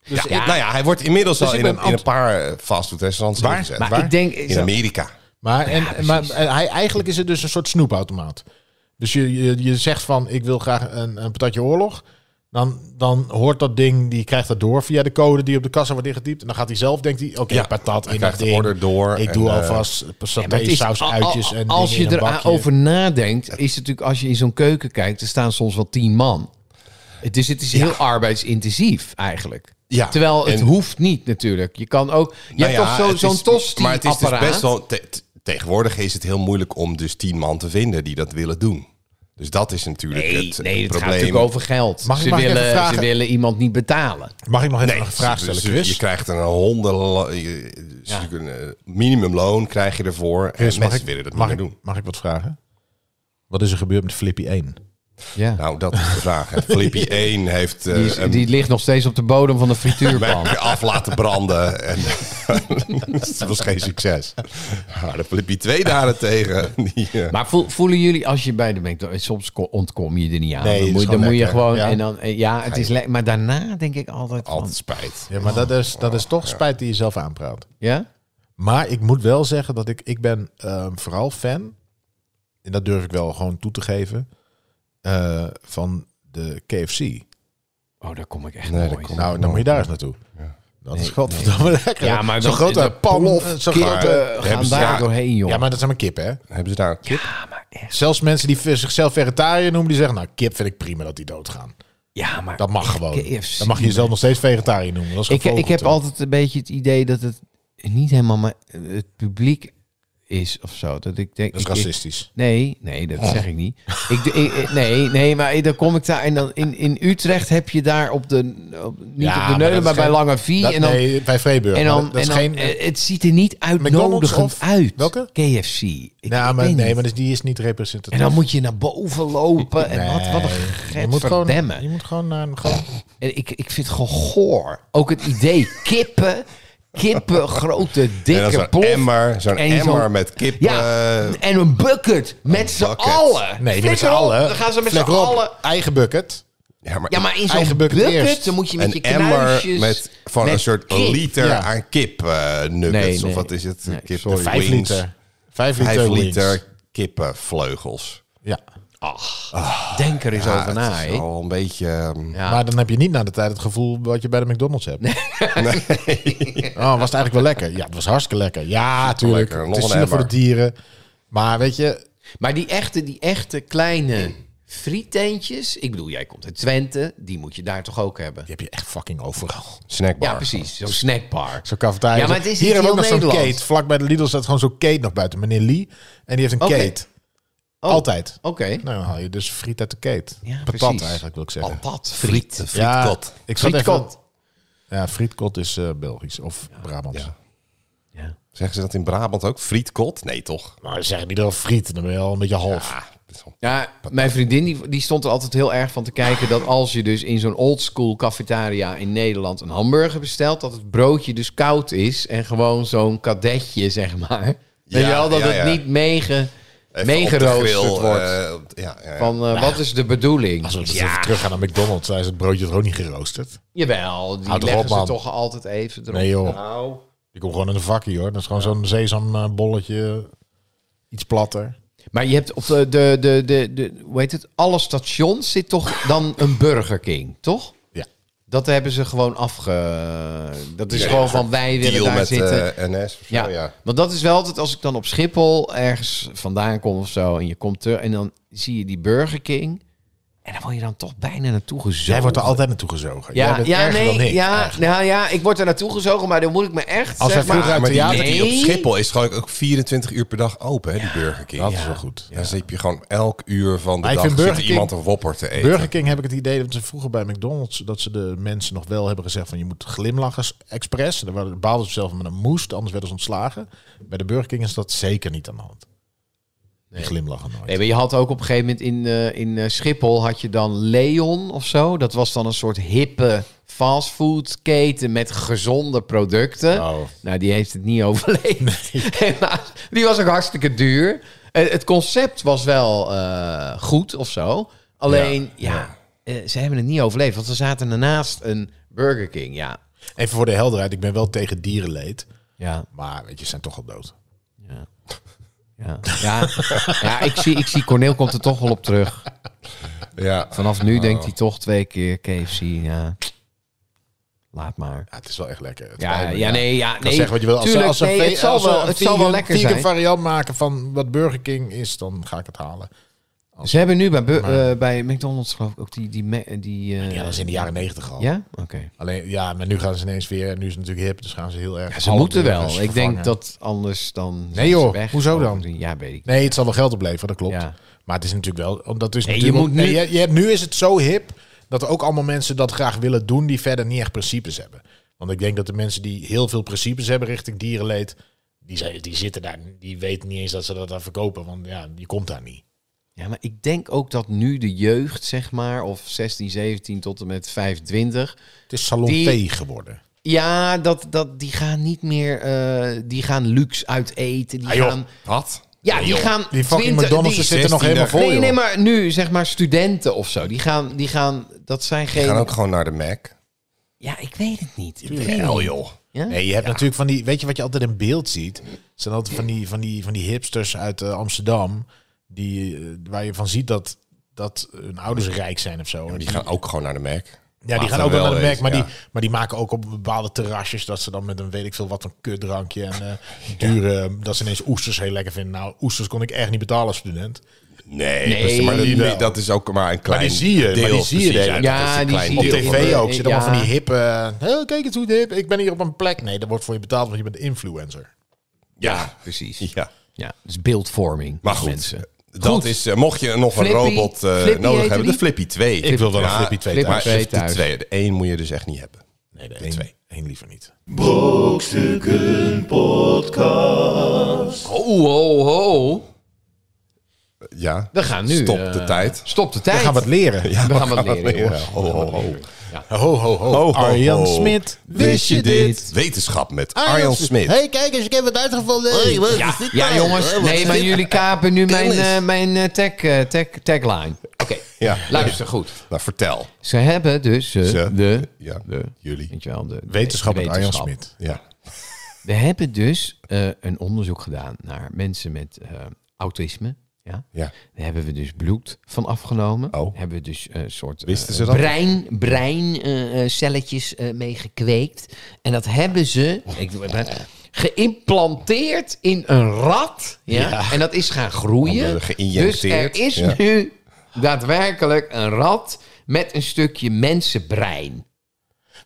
S2: ja,
S3: ja.
S2: Nou ja, hij wordt inmiddels al
S4: Dus ik ben
S2: in een, in
S4: ant-
S2: een paar eh, fastfoodrestaurants
S4: Waar?
S2: ingezet.
S3: Maar
S4: Waar?
S3: ik denk.
S2: In Amerika.
S4: Maar, en, maar en hij, eigenlijk is het dus een soort snoepautomaat. Dus je, je, je zegt van, ik wil graag een, een patatje oorlog. Dan, dan hoort dat ding, die krijgt dat door via de code die op de kassa wordt ingetypt. En dan gaat hij zelf, denkt hij, oké,
S2: Ja,
S4: patat
S2: hij
S4: in
S2: krijgt
S4: dat
S2: de
S4: ding.
S2: order door
S4: Ik
S2: en,
S4: doe
S2: eh,
S4: alvast
S3: maar het
S4: saté,
S3: is-
S4: saus,
S3: al- al-
S4: uitjes en
S3: als je
S4: er
S3: erover nadenkt, is het natuurlijk als je in zo'n keuken kijkt, er staan soms wel tien man. Dus het is heel arbeidsintensief eigenlijk.
S2: Ja,
S3: Terwijl het
S2: en-
S3: hoeft niet natuurlijk. Je kan ook. Je
S2: Nou
S3: hebt
S2: ja,
S3: toch zo-
S2: het
S3: zo'n
S2: is-
S3: tosti
S2: Maar het is dus
S3: apparaat.
S2: best wel... te- te- tegenwoordig is het heel moeilijk om dus tien man te vinden die dat willen doen. Dus dat is natuurlijk
S3: Nee,
S2: het eh,
S3: nee, het gaat
S2: probleem.
S3: natuurlijk over geld.
S4: Mag ik-
S3: ze,
S4: mag ik even
S3: willen,
S4: vragen?
S3: ze willen iemand niet betalen.
S4: Mag ik nog even
S2: Nee,
S4: een vraag stellen,
S2: ze-
S4: Chris?
S2: Je krijgt een honden... dus
S3: Ja.
S2: eh, minimumloon krijg je ervoor. en
S4: Chris,
S2: mensen
S4: mag ik,
S2: willen dat
S4: mag,
S2: niet
S4: ik,
S2: meer doen.
S4: mag ik wat vragen? Wat is er gebeurd met Flippy 1?
S3: Ja.
S2: Nou, dat is de vraag. hè.
S3: [laughs]
S2: Flippy 1 heeft eh,
S3: Die, is-
S2: een
S3: die ligt nog steeds op de bodem van de
S2: [laughs]
S3: frituurpan.
S2: merk af laten branden.
S3: [laughs]
S2: En [laughs] dat was geen succes. Maar de Flippy 2 daarentegen. Die, eh,
S3: Maar voel- voelen jullie als je bij de McDonald's... Soms ko- ontkom je er niet aan.
S4: Nee,
S3: dan
S4: dat
S3: moet,
S4: is
S3: dan
S4: gewoon
S3: moet je
S4: lekker,
S3: gewoon...
S4: ja.
S3: En dan, eh, ja, het is lekker. Maar daarna denk ik altijd van...
S2: altijd spijt.
S4: Ja, maar dat is, dat is toch spijt die je zelf aanpraat.
S3: Ja?
S4: Maar ik moet wel zeggen dat ik, ik ben ehm, vooral fan, en dat durf ik wel gewoon toe te geven, eh, van de KFC.
S3: Oh, daar kom ik echt
S2: Nee,
S3: nee,
S2: daar
S3: nooit.
S2: kom ik
S4: Nou, dan moet je daar eens naartoe. Dat is godverdomme [laughs] lekker.
S3: Ja, maar
S4: zo'n
S3: dan-
S4: grote
S3: de
S4: pan
S3: pomp,
S4: of zo'n
S3: kip,
S4: grote...
S3: eh,
S2: hebben
S3: gaan
S2: ze-
S3: daar
S2: ja.
S3: doorheen, joh.
S4: dus Ja, maar dat is maar kip, hè?
S2: Hebben ze daar een kip?
S3: Ja, maar echt.
S4: Zelfs mensen die v- zichzelf vegetariër noemen, die zeggen... Nou, kip vind ik prima dat die doodgaan.
S3: Ja, maar
S4: Dat mag gewoon.
S3: KFC,
S4: Dan mag je jezelf nog steeds vegetariër noemen. Dat is
S3: Ik, ik heb
S4: gevogelte.
S3: altijd een beetje het idee dat het niet helemaal mijn, het publiek is of zo. Dat ik denk.
S4: Dat is
S3: ik- ik-
S4: racistisch.
S3: Nee, nee, dat zeg ik
S2: [laughs]
S3: niet. Ik, ik- ik- nee, nee, maar dan kom ik daar. En dan in, in Utrecht heb je daar op de. Op, niet
S4: Ja,
S3: op
S4: maar
S3: de neulen,
S4: dat
S3: maar,
S4: is
S3: bij
S4: geen-
S3: Lange Vie.
S4: Dat-
S3: en dan,
S4: nee, bij Vreeburg.
S3: en dan,
S4: maar dat is
S3: en dan-
S4: geen...
S3: eh, het ziet er niet uitnodigend
S4: of-
S3: uit.
S4: welke?
S3: KFC. Ik,
S4: nou,
S3: ik
S4: maar,
S3: weet
S4: nee,
S3: niet.
S4: maar dus die is niet representatief.
S3: En dan moet je naar boven lopen. En wat, wat een
S4: je moet, gewoon,
S3: getverdemme.
S4: je moet gewoon naar een... Gewoon,
S3: En ik, ik vind het gewoon goor. Ook het idee kippen. Kippen, grote,
S2: En dan
S3: dikke
S2: zo'n
S3: plof.
S2: emmer, zo'n
S3: En die
S2: emmer
S3: zo'n-
S2: met kip.
S3: Ja,
S2: eh,
S3: en een bucket met z'n
S2: bucket.
S3: allen.
S4: nee, die met z'n
S3: Flikker op.
S4: allen.
S3: Dan gaan ze met z'n
S4: Flikker op.
S3: allen.
S4: Eigen bucket.
S2: ja, maar,
S3: Ja, maar in zo'n
S4: Eigen bucket
S3: bucket,
S4: eerst.
S3: dan moet je met je
S2: een
S3: kruisjes...
S2: emmer met, van
S3: met
S2: een soort
S3: kip.
S2: liter
S4: Ja.
S2: aan kip eh, nuggets.
S3: Nee,
S2: Of
S3: nee.
S2: wat is het?
S3: Nee,
S2: kip,
S3: sorry.
S4: Vijf
S2: wings.
S4: liter. Vijf liter
S2: Vijf
S4: wings.
S2: liter kippenvleugels.
S4: Ja.
S3: Denk er eens
S2: Ja,
S3: over
S2: het
S3: na,
S2: is
S3: hè.
S2: al een beetje... ehm,
S3: Ja.
S4: Maar dan heb je niet na de tijd het gevoel wat je bij de McDonald's hebt. [laughs] Oh, was het eigenlijk wel lekker? Ja, het was hartstikke lekker. Ja, tuurlijk.
S2: lekker.
S4: Het
S2: Nog
S4: is
S2: een
S4: zielig voor de
S2: emmer.
S4: dieren. Maar weet je...
S3: Maar die echte, die echte kleine frieteentjes... Ik bedoel, jij komt uit Twente. Die moet je daar toch ook hebben?
S4: Die heb je echt fucking overal.
S2: Snackbar.
S3: Ja, precies. Zo'n snackbar.
S4: Zo'n cafetaria.
S3: Ja, maar het is
S4: Hier
S3: niet
S4: hebben we ook
S3: heel
S4: nog zo'n
S3: Nederland.
S4: Kate. Vlak bij de Lidl staat gewoon zo'n Kate nog buiten. Meneer Lee. En die heeft een
S3: Oké.
S4: Kate.
S3: Oh,
S4: Altijd.
S3: Oké.
S4: Nou, dan haal je dus friet uit de Kate.
S3: Ja,
S4: Patat
S3: precies.
S4: eigenlijk, wil ik zeggen.
S3: Patat, friet.
S4: Ja, ik zat
S3: Frietkot.
S4: Even, ja, frietkot is eh, Belgisch of Brabants.
S2: Ja.
S3: Ja.
S2: Zeggen ze dat in Brabant ook? Frietkot? Nee, toch?
S4: Maar ze zeggen niet al friet, dan ben je al een beetje half.
S2: Ah, dat is wel-
S3: Ja, mijn vriendin die, die stond er altijd heel erg van te kijken dat als je dus in zo'n oldschool cafetaria in Nederland een hamburger bestelt, dat het broodje dus koud is en gewoon zo'n kadetje, zeg maar. Weet je wel, dat
S2: ja, ja.
S3: het niet mege,
S2: Even op de
S3: meegeroosterd
S2: grill,
S3: wordt.
S2: eh, op- ja, ja, ja.
S3: van eh, wat is de bedoeling?
S4: Nou, Als we dus even teruggaan naar McDonald's, daar is het broodje er ook niet geroosterd.
S3: Jawel, die
S4: Houd erop,
S3: leggen ze
S4: man.
S3: toch altijd even erop.
S4: Nee joh,
S3: Nou,
S4: die komt gewoon in de vakkie hoor. Dat is gewoon zo'n sesambolletje, iets platter.
S3: Maar je hebt op de, de, de, de, de- hoe heet het, alle stations zit toch dan een Burger King, toch?
S4: Ja.
S3: Dat hebben ze gewoon afge... Dat is gewoon van wij willen
S2: Deal
S3: daar
S2: met
S3: zitten.
S2: eh, NS of zo,
S3: Ja.
S4: Oh,
S2: ja.
S3: want dat is wel altijd als ik dan op Schiphol ergens vandaan kom of zo en je komt er en dan zie je die Burger King en dan word je dan toch bijna naartoe gezogen.
S4: Jij wordt er altijd naartoe gezogen. Jij
S3: ja,
S4: bent
S3: ja,
S4: erger
S3: nee,
S4: dan ik,
S3: ja,
S4: eigenlijk.
S3: nou ja, ik word er naartoe gezogen, maar dan moet ik me echt.
S4: Als
S3: zeg
S4: wij vroeger
S3: maar,
S4: uit
S2: Ah, Maar die,
S4: theater...
S2: die op
S3: Nee.
S2: Schiphol is gewoon ook 24 uur per dag open, hè, die Burger King.
S4: Dat is wel goed.
S2: Dan zit je gewoon elk uur van de
S4: Maar ik
S2: dag
S4: vind
S2: zit
S4: Burger King-
S2: iemand een wopper te eten.
S4: Burger King heb ik het idee dat ze vroeger bij McDonald's dat ze de mensen nog wel hebben gezegd van je moet glimlachen expres. Daar waren- baalden ze zelf van een moest, anders werden ze ontslagen. Bij de Burger King is dat zeker niet aan de hand. Die glimlachen nooit.
S3: Nee, maar je had ook op een gegeven moment in, eh, in eh, Schiphol had je dan Leon of zo. Dat was dan een soort hippe fastfoodketen met gezonde producten.
S4: Oh.
S3: Nou, die heeft het niet [laughs] overleefd. [laughs] Helaas. Die was ook hartstikke duur. Eh, het concept was wel eh, goed of zo. Alleen, ja, eh, ze hebben het niet overleefd. Want ze zaten daarnaast een Burger King, ja.
S4: Even voor de helderheid, ik ben wel tegen dierenleed,
S3: Ja,
S4: maar weet je, ze zijn toch al dood.
S3: ja. Ja, ja. ja ik, zie, ik zie Corneel komt er toch wel op terug.
S2: Ja.
S3: Vanaf nu denkt hij toch twee keer KFC. Ja. Laat maar.
S4: Ja, het is wel echt lekker. Het
S3: Ja,
S4: spijt me,
S3: ja, nee, ja,
S4: Ik kan
S3: nee.
S4: zeggen wat je wil. Als ze-
S3: tuurlijk,
S4: als ze
S3: nee,
S4: ve-
S3: het zal
S4: als ze
S3: wel-
S4: een
S3: het zal wel
S4: vegan-
S3: lekker
S4: vegan
S3: zijn.
S4: variant maken van wat Burger King is, dan ga ik het halen.
S3: Ze hebben nu bij, bu-
S4: Maar-
S3: eh, bij McDonald's geloof ik ook die... die, me- die eh,
S4: Ja, dat is in de jaren negentig al.
S3: Ja? Oké.
S4: Alleen, ja, maar nu gaan ze ineens weer, nu is het natuurlijk hip, dus gaan ze heel erg...
S3: ze
S4: alle
S3: moeten wel.
S4: burgers
S3: Ik denk
S4: vervangen.
S3: dat anders dan...
S4: Nee,
S3: zijn
S4: joh.
S3: ze weg.
S4: Hoezo dan?
S3: Ja, weet ik.
S4: Nee, het zal wel geld opleveren, dat klopt.
S3: Ja.
S4: Maar het is natuurlijk wel... Omdat het is
S3: Nee, je
S4: natuurlijk
S3: moet
S4: wel-
S3: nu-
S4: nee, je, je hebt, nu is het zo hip dat er ook allemaal mensen dat graag willen doen... die verder niet echt principes hebben. Want ik denk dat de mensen die heel veel principes hebben richting dierenleed... die, zijn, die zitten daar, die weten niet eens dat ze dat daar verkopen. Want ja, je komt daar niet.
S3: Ja, maar ik denk ook dat nu de jeugd, zeg maar, of 16, 17 tot en met 25,
S4: Het is salon
S3: Die-
S4: thee geworden.
S3: Ja, dat, dat, die gaan niet meer. eh, die gaan luxe uit eten. Die
S4: Ah, joh.
S3: gaan.
S2: Wat?
S3: Ja, die
S4: joh.
S3: gaan.
S4: Die fucking
S3: 20
S4: McDonald's
S3: die-
S4: zitten nog
S2: 16er.
S4: helemaal vol,
S3: Nee, nee,
S4: joh.
S3: maar nu zeg maar studenten of zo. Die gaan. Die gaan dat zijn geen.
S2: We gaan ook gewoon naar de Mac.
S3: Ja, ik weet het niet. Ik weet het
S2: Hel
S3: niet.
S2: joh.
S3: Ja?
S4: Nee, je hebt natuurlijk van die, weet je wat je altijd in beeld ziet? Het zijn altijd van die, van die, van die hipsters uit eh, Amsterdam, die, eh, waar je van ziet dat, dat hun ouders rijk zijn of zo. En
S2: Die gaan ook gewoon naar de Mac.
S4: Ja, die
S2: Laten
S4: gaan
S2: we
S4: ook wel naar de
S2: wezen,
S4: Mac, maar,
S2: ja.
S4: die, maar die maken ook op bepaalde terrasjes dat ze dan met een weet ik veel wat een kutdrankje en eh, dure, dat ze ineens oesters heel lekker vinden. Nou, oesters kon ik echt niet betalen als student.
S2: Nee,
S3: Nee,
S2: precies, maar dat,
S4: die wel.
S2: dat is ook maar een klein
S4: die zie je, maar
S2: deel.
S4: die zie je
S2: precies,
S4: de hele
S2: dat
S3: tijd.
S2: is
S3: Ja,
S2: een
S3: die
S2: klein
S3: zie
S4: Op
S3: je.
S2: deel.
S3: Ja,
S4: tv
S3: maar-
S4: ook, zit allemaal
S3: ja.
S4: van die hippe, eh, "Oh, kijk eens hoe hip, ik ben hier op een plek. Nee, daar wordt voor je betaald, want je bent influencer.
S2: Ja,
S3: Precies.
S2: ja.
S3: Ja, dus beeldvorming.
S2: Maar goed,
S3: Mensen.
S2: dat
S3: Goed.
S2: is... eh, mocht je nog
S3: Flippy.
S2: een robot eh,
S3: Flippy
S2: nodig
S3: heette
S2: hebben,
S3: die?
S2: de Flippy 2.
S4: Ik wil wel een Flippy 2
S3: Flippy
S2: Maar
S4: thuis.
S3: twee
S2: de
S3: thuis.
S2: twee, de één moet je dus echt niet hebben.
S4: Nee, de twee. Eén liever niet.
S3: Ho, ho, ho.
S2: Ja.
S3: We gaan nu.
S2: Stop
S3: eh,
S2: de tijd.
S3: Stop de tijd.
S4: We gaan wat leren.
S3: [laughs] We gaan wat leren. jongens.
S2: Ho, ho, ho.
S4: Ho, ho,
S3: Oh,
S4: ho.
S2: ho,
S4: Arjan
S2: ho.
S4: Smit,
S2: Oh, Wist je dit? Wetenschap met Arjan Smit.
S4: hey, kijk eens, ik heb het uitgevonden.
S3: Ja, ja, jongens. Nee, maar jullie kapen nu mijn, eh, mijn eh, tag, eh, tag, tagline. Oké,
S2: Ja.
S3: luister goed.
S2: Nou, vertel.
S3: Ze hebben dus eh,
S2: Ze.
S3: de,
S2: Ja,
S3: de,
S2: jullie.
S3: weet je wel, de
S4: Wetenschap met Arjan
S3: wetenschap.
S4: Smit.
S2: Ja.
S3: We hebben dus eh, een onderzoek gedaan naar mensen met eh, autisme. Ja.
S2: Ja.
S3: Daar hebben we dus bloed van afgenomen.
S2: Oh.
S3: Hebben we dus een soort eh,
S2: Wisten ze dat?
S3: brein, eh, breincelletjes mee gekweekt. En dat hebben ze ik, geïmplanteerd in een rat. Ja? En dat is gaan groeien.
S2: Hebben we geïnjecteerd,
S3: Dus er is
S2: ja.
S3: nu daadwerkelijk een rat met een stukje mensenbrein.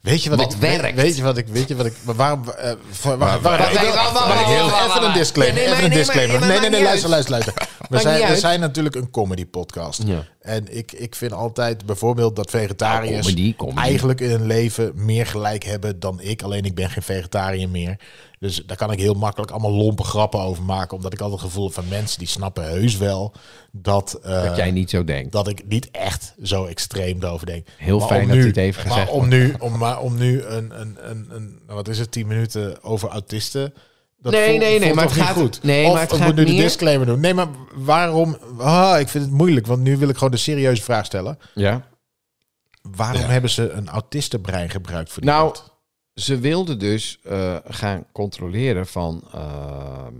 S4: Weet je wat,
S3: Wat
S4: ik
S3: werkt.
S4: Weet je wat ik weet je wat ik maar waarom eh, voor- wacht,
S2: waar-
S4: wacht,
S2: waar-
S4: even-
S3: waar- waar-
S4: wacht,
S3: waar-
S4: heel-
S3: waar- waar-
S4: even een
S3: waar-
S4: disclaimer,
S3: Nee, nee,
S4: even een
S3: maar-
S4: disclaimer.
S3: nee,
S4: Nee,
S3: maar-
S4: nee, nee,
S3: maakt
S4: luister, luister,
S3: [laughs]
S4: luister. We
S3: niet
S4: zijn, we
S3: uit.
S4: zijn natuurlijk een comedy podcast.
S3: Ja.
S4: En ik, ik vind altijd bijvoorbeeld dat vegetariërs
S3: Nou, comedy, comedy.
S4: eigenlijk in hun leven meer gelijk hebben dan ik. Alleen ik ben geen vegetariër meer. Dus daar kan ik heel makkelijk allemaal lompe grappen over maken. Omdat ik altijd het gevoel heb van mensen die snappen heus wel dat... eh,
S3: Dat jij niet zo denkt.
S4: dat ik niet echt zo extreem erover denk.
S3: Heel
S4: Maar
S3: fijn
S4: om
S3: dat
S4: nu-
S3: hij het heeft gezegd.
S4: Maar om nu, om, maar om nu een, een, een, een, nou, wat is het, 10 minuten over autisten. Dat
S3: Nee,
S4: voelt-
S3: nee, nee,
S4: voelt
S3: maar
S4: toch
S3: het
S4: niet
S3: gaat-
S4: goed.
S3: nee,
S4: of
S3: maar het
S4: we
S3: gaat
S4: moeten nu
S3: meer-
S4: de disclaimer doen. Nee, maar waarom? Ah, ik vind het moeilijk, want nu wil ik gewoon de serieuze vraag stellen.
S3: Ja.
S4: Waarom hebben ze een autistenbrein gebruikt voor die
S3: Nou,
S4: rat?
S3: ze wilden dus eh, gaan controleren van ehm,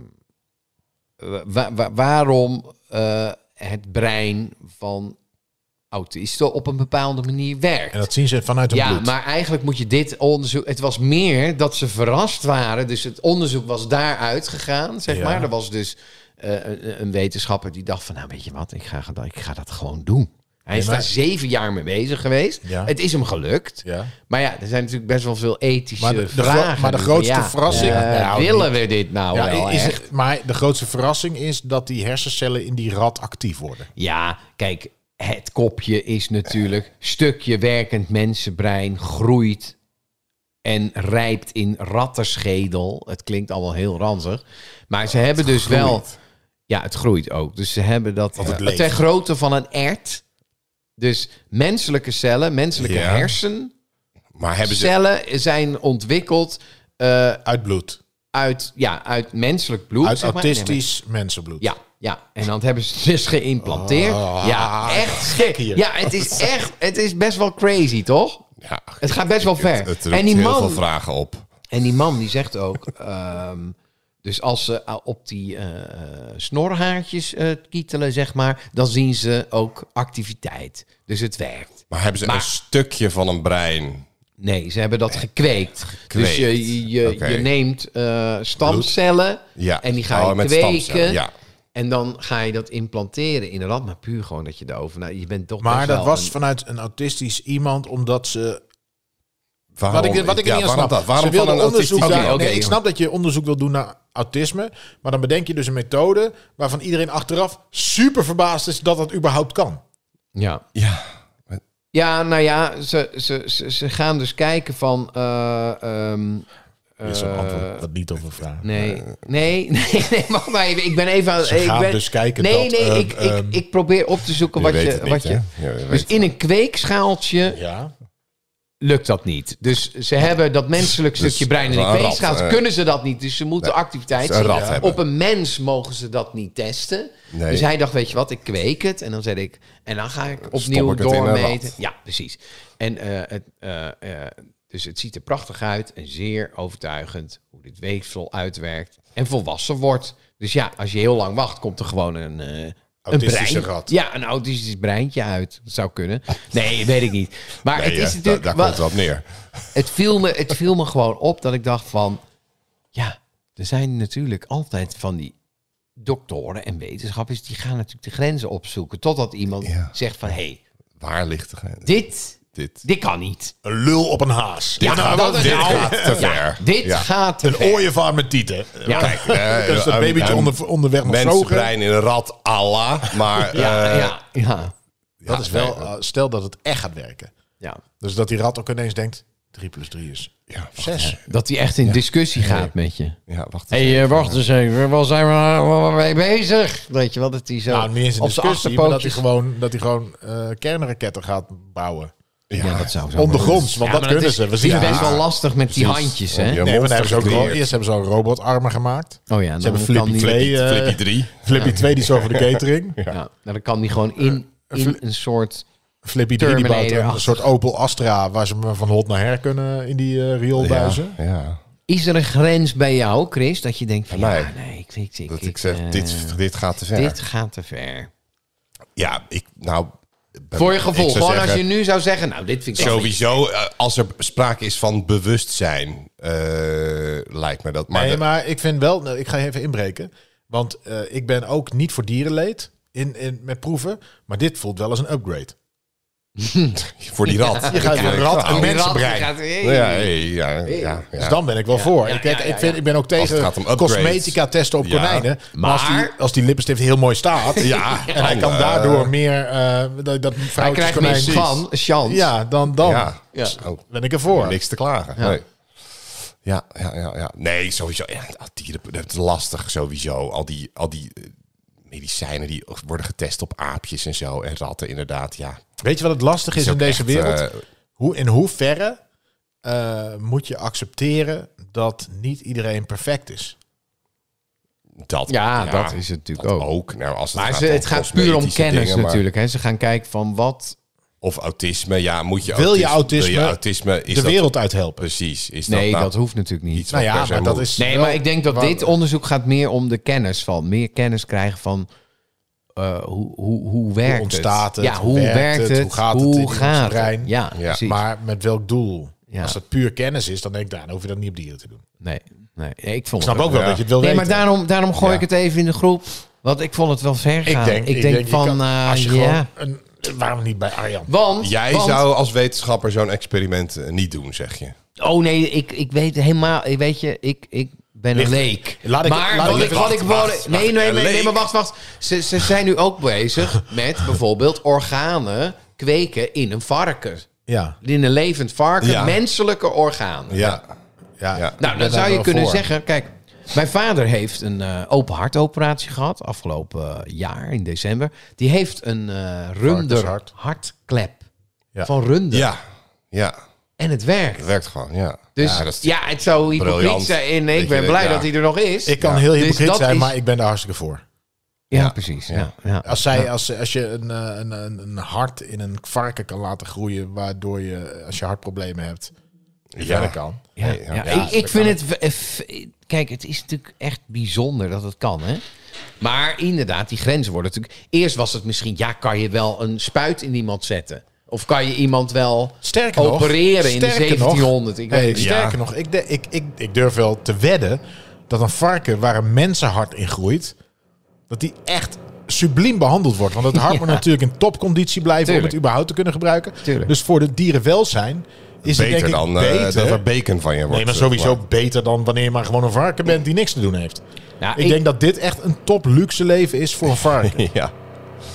S3: wa- wa- waarom eh, het brein van autisten op een bepaalde manier werkt.
S4: En dat zien ze vanuit hun
S3: ja,
S4: bloed.
S3: maar eigenlijk moet je dit onderzoek. Het was meer dat ze verrast waren. Dus het onderzoek was daaruit gegaan, zeg
S4: Ja.
S3: maar. Er was dus eh, een, een wetenschapper die dacht: van nou, weet je wat, ik ga, dat- ik ga dat gewoon doen. Hij is
S4: maar-
S3: daar zeven jaar mee bezig geweest.
S4: Ja.
S3: Het is hem gelukt.
S4: Ja.
S3: Maar ja, er zijn natuurlijk best wel veel ethische
S4: Maar de- de
S3: vragen.
S4: gro- maar de
S3: Dus
S4: grootste
S3: ja,
S4: verrassing-
S3: eh,
S4: Nou,
S3: willen we dit nou
S4: Ja,
S3: wel
S4: is
S3: echt?
S4: het, maar de grootste verrassing is dat die hersencellen in die rat actief worden.
S3: Ja, kijk, het kopje is natuurlijk... stukje werkend mensenbrein groeit en rijpt in rattenschedel. Het klinkt allemaal heel ranzig. Maar ze hebben dus wel... Ja, het groeit ook. Dus ze hebben dat
S4: Want het
S3: eh,
S4: leeft.
S3: ter grootte van een ert. Dus menselijke cellen, menselijke
S2: Ja.
S3: hersencellen
S2: Maar hebben ze...
S3: zijn ontwikkeld... eh,
S4: Uit bloed.
S3: uit, ja, uit menselijk bloed.
S4: Uit
S3: zeg maar. Nee, maar-
S4: autistisch mensenbloed.
S3: Ja, ja. En dan hebben ze het dus geïmplanteerd.
S2: Oh,
S4: Ah,
S3: ja, echt gek
S4: hier.
S3: Ja, het is echt, het is best wel crazy, toch?
S2: Ja,
S3: Het gaat best wel ver.
S2: het, het roept
S3: en, die
S2: heel
S3: man,
S2: veel vragen op.
S3: en die man die zegt ook, ehm, dus als ze eh, op die eh, snorhaartjes eh, kietelen, zeg maar, dan zien ze ook activiteit. Dus het werkt.
S2: Maar hebben ze
S3: Maar-
S2: een stukje van een brein?
S3: Nee, ze hebben dat gekweekt. Dus je, je,
S2: Oké.
S3: je neemt eh, stamcellen
S2: Ja.
S3: en die ga je
S2: Oh, met
S3: kweken.
S2: stamcellen, Ja.
S3: En dan ga je dat implanteren in een rat, maar puur gewoon dat je erover... Nou, je bent toch
S4: Maar
S3: best
S4: dat
S3: wel
S4: was
S3: een-
S4: vanuit een autistisch iemand, omdat ze...
S2: Waarom,
S3: Oh,
S4: Wat ik, wat ik
S2: ja,
S4: niet aan
S2: waarom
S4: snap.
S2: dat? Waarom
S4: ze
S2: van
S4: wilden
S2: een
S4: onderzoek
S2: autistisch...
S3: Oké,
S4: daar-
S3: oké,
S4: nee, ik
S3: jongen.
S4: snap dat je onderzoek wil doen naar autisme. Maar dan bedenk je dus een methode waarvan iedereen achteraf super verbaasd is dat dat überhaupt kan.
S3: Ja.
S2: Ja.
S3: Ja, nou ja, ze, ze, ze, ze gaan dus kijken van. eh, ehm,
S4: is zo'n antwoord dat niet op een vraag.
S3: Nee, nee, [laughs] nee, nee, wacht maar even. Ik ben even aan
S4: Ze
S3: ik
S4: gaan
S3: ben,
S4: dus kijken
S3: Nee,
S4: dat,
S3: nee,
S4: ehm,
S3: ik,
S4: ehm,
S3: ik, ik probeer op te zoeken
S2: Je
S3: wat
S2: weet
S3: je...
S2: het niet,
S3: wat je
S2: hè? Ja, je
S3: dus
S2: weet
S3: in een kweekschaaltje
S4: Ja.
S3: lukt dat niet. Dus ze hebben dat menselijk
S2: Dus
S3: stukje brein in
S2: een
S3: een
S2: rat,
S3: kweekschaal.
S2: eh.
S3: kunnen ze dat niet, dus ze moeten activiteit
S2: dus een rat
S3: zien.
S2: hebben.
S3: Op een mens mogen ze dat niet testen.
S2: Nee.
S3: Dus hij dacht, weet je wat, ik kweek het. En dan zei ik, en dan ga ik opnieuw
S2: ik het in een
S3: doormeten.
S2: rat.
S3: Ja, precies. En eh, het... eh, eh, dus het ziet er prachtig uit en zeer overtuigend hoe dit weefsel uitwerkt en volwassen wordt. Dus ja, als je heel lang wacht, komt er gewoon een, eh een
S4: Autistische
S3: brein.
S4: rat.
S3: Ja, een autistisch breintje uit. Dat zou kunnen. Nee, weet ik niet. Maar
S2: Nee,
S3: het is
S2: eh,
S3: natuurlijk...
S2: daar, daar
S3: wa-
S2: komt het op neer.
S3: het viel, me, het viel me gewoon op dat ik dacht van... Ja, er zijn natuurlijk altijd van die doktoren en wetenschappers... die gaan natuurlijk de grenzen opzoeken. Totdat iemand
S2: Ja.
S3: zegt van... Hé, hey,
S2: Waar ligt de grens?
S3: dit,
S2: Dit.
S3: dit kan niet.
S4: Een lul op een haas.
S3: Ja, nou, dat
S2: dit
S3: nou.
S2: gaat te
S3: Ja,
S2: ver.
S3: Dit
S2: Ja.
S3: gaat te
S4: Een
S3: ver.
S4: ooievaar met tieten.
S3: Ja.
S2: Eh,
S4: Dat is dat
S2: een-
S4: babytje
S2: een
S4: onder, onderweg nog zogen.
S2: Mensenbrein in een rat, Allah. Maar
S3: Ja,
S2: eh,
S3: ja, ja,
S4: Dat is wel, eh, stel dat het echt gaat werken.
S3: ja.
S4: Dus dat die rat ook ineens denkt, 3 plus 3 is
S2: ja, wacht,
S4: 6.
S3: Dat hij echt in discussie gaat met je.
S2: ja, wacht
S3: Hé,
S2: eens.
S3: eh, wacht eens even. Waar zijn we nou mee bezig? Weet je wel, dat hij zo...
S4: Nou, niet eens een
S3: op zijn
S4: discussie, maar dat hij
S3: achterpootjes-
S4: gewoon, dat hij gewoon eh, kernraketten gaat bouwen.
S3: Ja, dat zou zo
S4: Ondergronds, want
S3: Ja,
S4: dat
S3: maar
S4: kunnen
S3: is-
S4: ze. We
S3: die
S4: zien
S3: is
S4: het
S3: best
S4: niet.
S3: wel lastig met die
S2: Precies.
S3: handjes, hè?
S2: Ja,
S4: Nee, maar daar hebben ze ook ro-
S2: gecreëerd.
S4: eerst hebben ze al robotarmen gemaakt.
S3: Oh ja, dan
S4: Ze hebben
S3: kan
S4: Flippy
S3: die-
S4: 2. eh,
S2: Flippy 3.
S4: Flippy 2 die is over de catering.
S3: Ja, nou, dan kan die gewoon in,
S2: Eh,
S3: in een soort...
S4: Flippy 3 die bouwt een
S3: Terminator-achtig.
S4: soort Opel Astra waar ze me van hot naar her kunnen in die eh rioolbuizen.
S2: Ja, ja.
S3: Is er een grens bij jou, Chris, dat je denkt van...
S2: Bij mij?
S3: Ja, nee, ik, ik, ik,
S2: Dat
S3: ik,
S2: ik zeg,
S3: eh,
S2: dit, dit gaat te ver.
S3: dit gaat te ver.
S2: Ja, ik, nou... ben-
S3: Voor je
S2: ik
S3: gevoel,
S2: zou
S3: gewoon
S2: zeggen,
S3: als je nu zou zeggen... Nou, dit vind ik... toch niet-
S2: Sowieso, eh, als er sprake is van bewustzijn, eh, lijkt me dat. Maar,
S4: nee,
S2: de-
S4: maar ik vind wel, nou, ik ga even inbreken. Want eh, ik ben ook niet voor dierenleed in, in, met proeven. Maar dit voelt wel als een upgrade.
S2: voor die [laughs] rat.
S4: Je gaat
S2: Ja,
S4: een
S2: ik-
S4: rat
S2: nou,
S4: en
S3: Die rat die
S4: mensenbrein.
S3: gaat- hey.
S2: Ja, ja, ja, ja,
S4: Dus
S2: ja.
S4: dan ben ik wel voor.
S3: ja,
S4: Ik kijk,
S3: ja,
S4: Ik,
S3: ja,
S4: vind,
S3: ja.
S4: ik ben ook tegen
S2: gaat om upgrades.
S4: cosmetica testen op
S2: Ja,
S4: konijnen. Maar als die,
S3: maar-
S4: als die lippenstift heel mooi staat.
S2: Ja,
S4: En hij
S2: dan,
S4: kan
S2: eh,
S4: daardoor meer eh dat, dat
S3: Hij krijgt
S4: konijn-
S3: meer van, chance.
S4: Ja, dan, dan
S2: Ja,
S3: Ja.
S2: Zo.
S4: ben ik ervoor.
S2: Oh, Niks te klagen.
S3: Ja.
S2: Nee. Ja, ja, ja, ja. Nee, sowieso. Ja, dat dieren, dat is lastig sowieso. Al die, al die eh, medicijnen die worden getest op aapjes en zo. En ratten inderdaad, ja.
S4: Weet je wat het lastig is,
S2: ook
S4: in deze
S2: echt,
S4: wereld?
S2: eh,
S4: Hoe, in hoeverre eh, moet je accepteren dat niet iedereen perfect is?
S2: dat,
S3: Ja, dat is het natuurlijk
S2: dat
S3: ook.
S2: Nou, als het
S3: Maar
S2: gaat,
S3: ze,
S2: om
S3: het gaat puur om
S2: cosmetische
S3: kennis
S2: dingen, maar-
S3: natuurlijk. Hè. Ze gaan kijken van wat...
S2: Of autisme, ja, moet je
S4: Wil je
S2: Wil je
S4: autisme
S2: autisme? Is
S4: de
S2: dat-
S4: wereld uithelpen.
S2: Precies. Is
S3: Nee,
S2: dat, nou
S3: dat hoeft natuurlijk niet.
S2: iets
S4: Nou
S2: wat
S4: ja,
S2: per se
S4: maar dat
S2: moet?
S4: is.
S3: Nee,
S4: wel-
S3: maar ik denk dat
S4: waar-
S3: dit onderzoek gaat meer om de kennis van. Meer kennis krijgen van eh, hoe, hoe, hoe werkt het?
S4: ontstaat het?
S3: Ja,
S4: Hoe
S3: hoe
S4: werkt
S3: werkt
S4: het?
S3: het?
S4: Hoe gaat het in ons
S3: gaat
S4: brein?
S3: het? Ja,
S2: Ja,
S3: precies.
S4: Maar met welk doel?
S3: Ja.
S4: Als dat puur kennis is, dan denk ik, nou, dan hoef je dat niet op dieren te doen.
S3: Nee, nee. Ik vond
S4: Ik snap
S3: het
S4: ook wel
S2: Ja.
S4: dat je het wil
S3: Nee, maar
S4: weten.
S3: daarom, daarom gooi ik het even in de groep. Want ik vond het wel
S4: ik
S3: ver gaan.
S4: denk,
S3: ik denk,
S4: je
S3: van,
S4: kan-
S3: eh,
S4: als je
S3: ja.
S4: gewoon een, waarom niet bij Arjan?
S3: Want,
S2: Jij
S3: want-
S2: zou als wetenschapper zo'n experiment eh, niet doen, zeg je.
S3: Oh nee, ik, ik weet helemaal... ik- Weet je, ik, ik ben een
S4: Ligt-
S3: leek.
S4: Laat ik-
S3: maar
S4: laat
S3: wat
S4: ik-
S3: ik... Wat
S4: wacht,
S3: ik
S4: wacht,
S3: wou-
S4: wacht.
S3: nee, nee,
S2: Een
S3: nee, nee,
S2: leek.
S3: maar wacht, wacht. Ze, ze zijn nu ook bezig met bijvoorbeeld organen kweken in een varken.
S4: Ja,
S3: In een levend varken,
S2: Ja.
S3: menselijke organen.
S2: Ja.
S4: ja.
S2: Ja.
S4: ik ben
S3: Nou,
S4: daar
S3: dan zou je
S4: wel
S3: kunnen
S4: voor.
S3: zeggen... Kijk, mijn vader heeft een eh, open hartoperatie gehad... afgelopen eh, jaar, in december. Die heeft een eh runder
S4: Varkenshart.
S3: hartklep
S4: Ja.
S3: van runder.
S2: Ja. Ja.
S3: En het werkt.
S2: Het werkt gewoon, ja.
S3: Dus
S2: ja,
S3: ja,
S2: dat is-
S3: het zou hypocriet
S2: briljant.
S3: zijn. En ik
S2: Dat
S3: ben
S2: je-
S3: blij
S2: ja.
S3: dat hij er nog is.
S4: Ik kan heel
S3: Dus
S4: hypocriet
S3: dat
S4: zijn,
S3: is-
S4: maar ik ben daar hartstikke voor.
S3: ja,
S2: Ja.
S3: precies. Ja. Ja.
S4: Als, zij, als, als je een, eh, een, een, een hart in een varken kan laten groeien, waardoor je, als je hartproblemen hebt, je
S2: Ja.
S4: verder kan.
S3: Ja,
S2: Nee, ja,
S3: ja.
S2: ja,
S3: ik, ik vind het... v- f- Kijk, het is natuurlijk echt bijzonder dat het kan, hè? Maar inderdaad, die grenzen worden natuurlijk... Eerst was het misschien, ja, kan je wel een spuit in iemand zetten? Of kan je iemand wel
S4: Sterker nog,
S3: opereren in de
S4: sterker nog,
S3: 1700? Ik weet
S4: hey,
S3: het niet.
S4: Sterker nog, ik, de- ik, ik, ik durf wel te wedden dat een varken waar een mensenhart in groeit, dat die echt subliem behandeld wordt. Want het
S3: [laughs]
S4: hart moet natuurlijk in topconditie blijven om
S3: Tuurlijk.
S4: het überhaupt te kunnen gebruiken.
S3: Tuurlijk.
S4: Dus voor het dierenwelzijn is het
S2: beter
S4: denk ik
S2: dan eh,
S4: beter.
S2: dat er bacon van je wordt.
S4: Nee, maar
S2: eh,
S4: sowieso
S2: gemaakt.
S4: beter dan wanneer je maar gewoon een varken bent die niks te doen heeft.
S3: Nou,
S4: ik, denk dat dit echt een top luxe leven is voor een
S3: [laughs]
S4: varken.
S2: [laughs] Ja.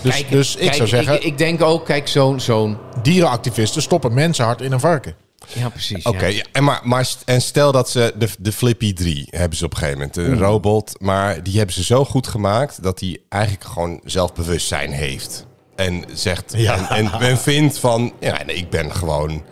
S4: Dus,
S3: kijk,
S4: dus ik
S3: kijk,
S4: zou zeggen,
S3: Ik, ik denk ook, kijk, zo'n... zo'n
S4: dierenactivisten stoppen mensenhart in een varken.
S3: Ja, precies.
S2: Oké, ja. en, maar, maar st- en stel dat ze de, de Flippy 3 hebben ze op een gegeven moment, een robot, maar die hebben ze zo goed gemaakt dat die eigenlijk gewoon zelfbewustzijn heeft. En zegt
S4: Ja.
S2: en, en, en vindt van, ja, nee, ik ben gewoon,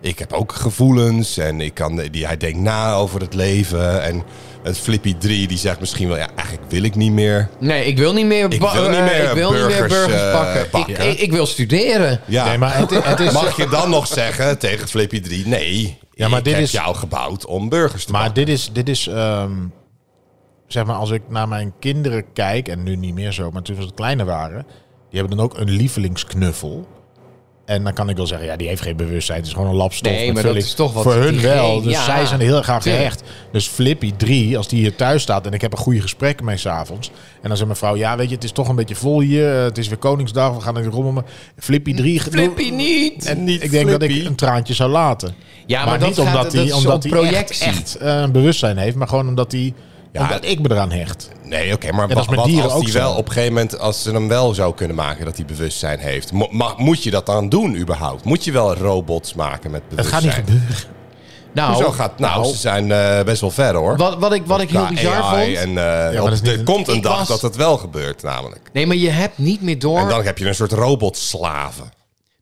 S2: ik heb ook gevoelens en ik kan, die, hij denkt na over het leven. En het Flippy 3 die zegt misschien wel, ja, eigenlijk wil ik niet meer.
S3: ja. Nee, ik wil niet meer,
S2: Ik
S3: ba-
S2: wil niet
S3: eh,
S2: meer
S3: ik wil niet meer
S2: burgers,
S3: burgers
S2: eh,
S3: pakken. Ik-
S2: pakken.
S3: Ik, ik wil studeren.
S2: Ja,
S4: Nee, maar het, het
S2: [laughs]
S4: is, [laughs]
S2: mag je dan nog zeggen tegen Flippy 3, nee,
S4: Ja, maar
S2: ik
S4: dit
S2: heb
S4: is-
S2: jou gebouwd om burgers te
S4: maar dit is, dit is ehm, zeg maar, als ik naar mijn kinderen kijk, en nu niet meer zo, maar toen ze kleiner waren, die hebben dan ook een lievelingsknuffel. En dan kan ik wel zeggen, ja, die heeft geen bewustzijn. Het is gewoon een lapstof.
S3: Nee,
S4: met
S3: maar dat
S4: vulling.
S3: is toch wat
S4: Voor hun
S3: die
S4: wel.
S3: geen-
S4: Dus
S3: ja,
S4: zij zijn er heel graag
S3: tuurlijk.
S4: gehecht. Dus Flippy 3, als die hier thuis staat en ik heb een goede gesprek mee s'avonds. En dan zegt mijn vrouw, ja, weet je, het is toch een beetje vol hier. eh, Het is weer Koningsdag, we gaan er rommel. maar Flippy 3... ge-
S3: Flippy niet.
S4: En
S2: Niet
S4: ik denk dat ik
S2: Flippy.
S4: een traantje zou laten.
S3: Ja, maar
S4: maar,
S3: dat
S4: niet
S3: gaat-
S4: omdat
S3: dat
S4: hij
S3: is
S4: omdat
S3: om
S4: hij echt,
S3: projectie.
S4: echt eh, een bewustzijn heeft, maar gewoon omdat hij
S2: Ja,
S4: omdat
S2: het-
S4: ik me eraan hecht.
S2: Nee, oké, maar
S4: dat
S2: wat,
S4: is met
S2: wat
S4: dieren
S2: als
S4: ook
S2: die
S4: zo.
S2: wel op een gegeven moment, als ze hem wel zou kunnen maken dat hij bewustzijn heeft, mo- ma- moet je dat dan doen überhaupt? Moet je wel robots maken met
S4: Het gaat
S2: bewustzijn?
S4: niet gebeuren.
S3: Nou,
S2: Hoezo gaat nou,
S3: nou,
S2: ze zijn eh, best wel ver hoor.
S3: wat, wat ik, wat ik heel
S2: Qua
S3: bizar
S2: AI
S3: vond...
S2: En, eh,
S4: dat
S2: op-
S4: is niet
S2: er
S4: een-
S2: komt een
S3: Ik
S2: dag
S3: was-
S2: dat het wel gebeurt namelijk.
S3: Nee, maar je hebt niet meer
S2: En
S3: door...
S2: dan heb je een soort robotslaven.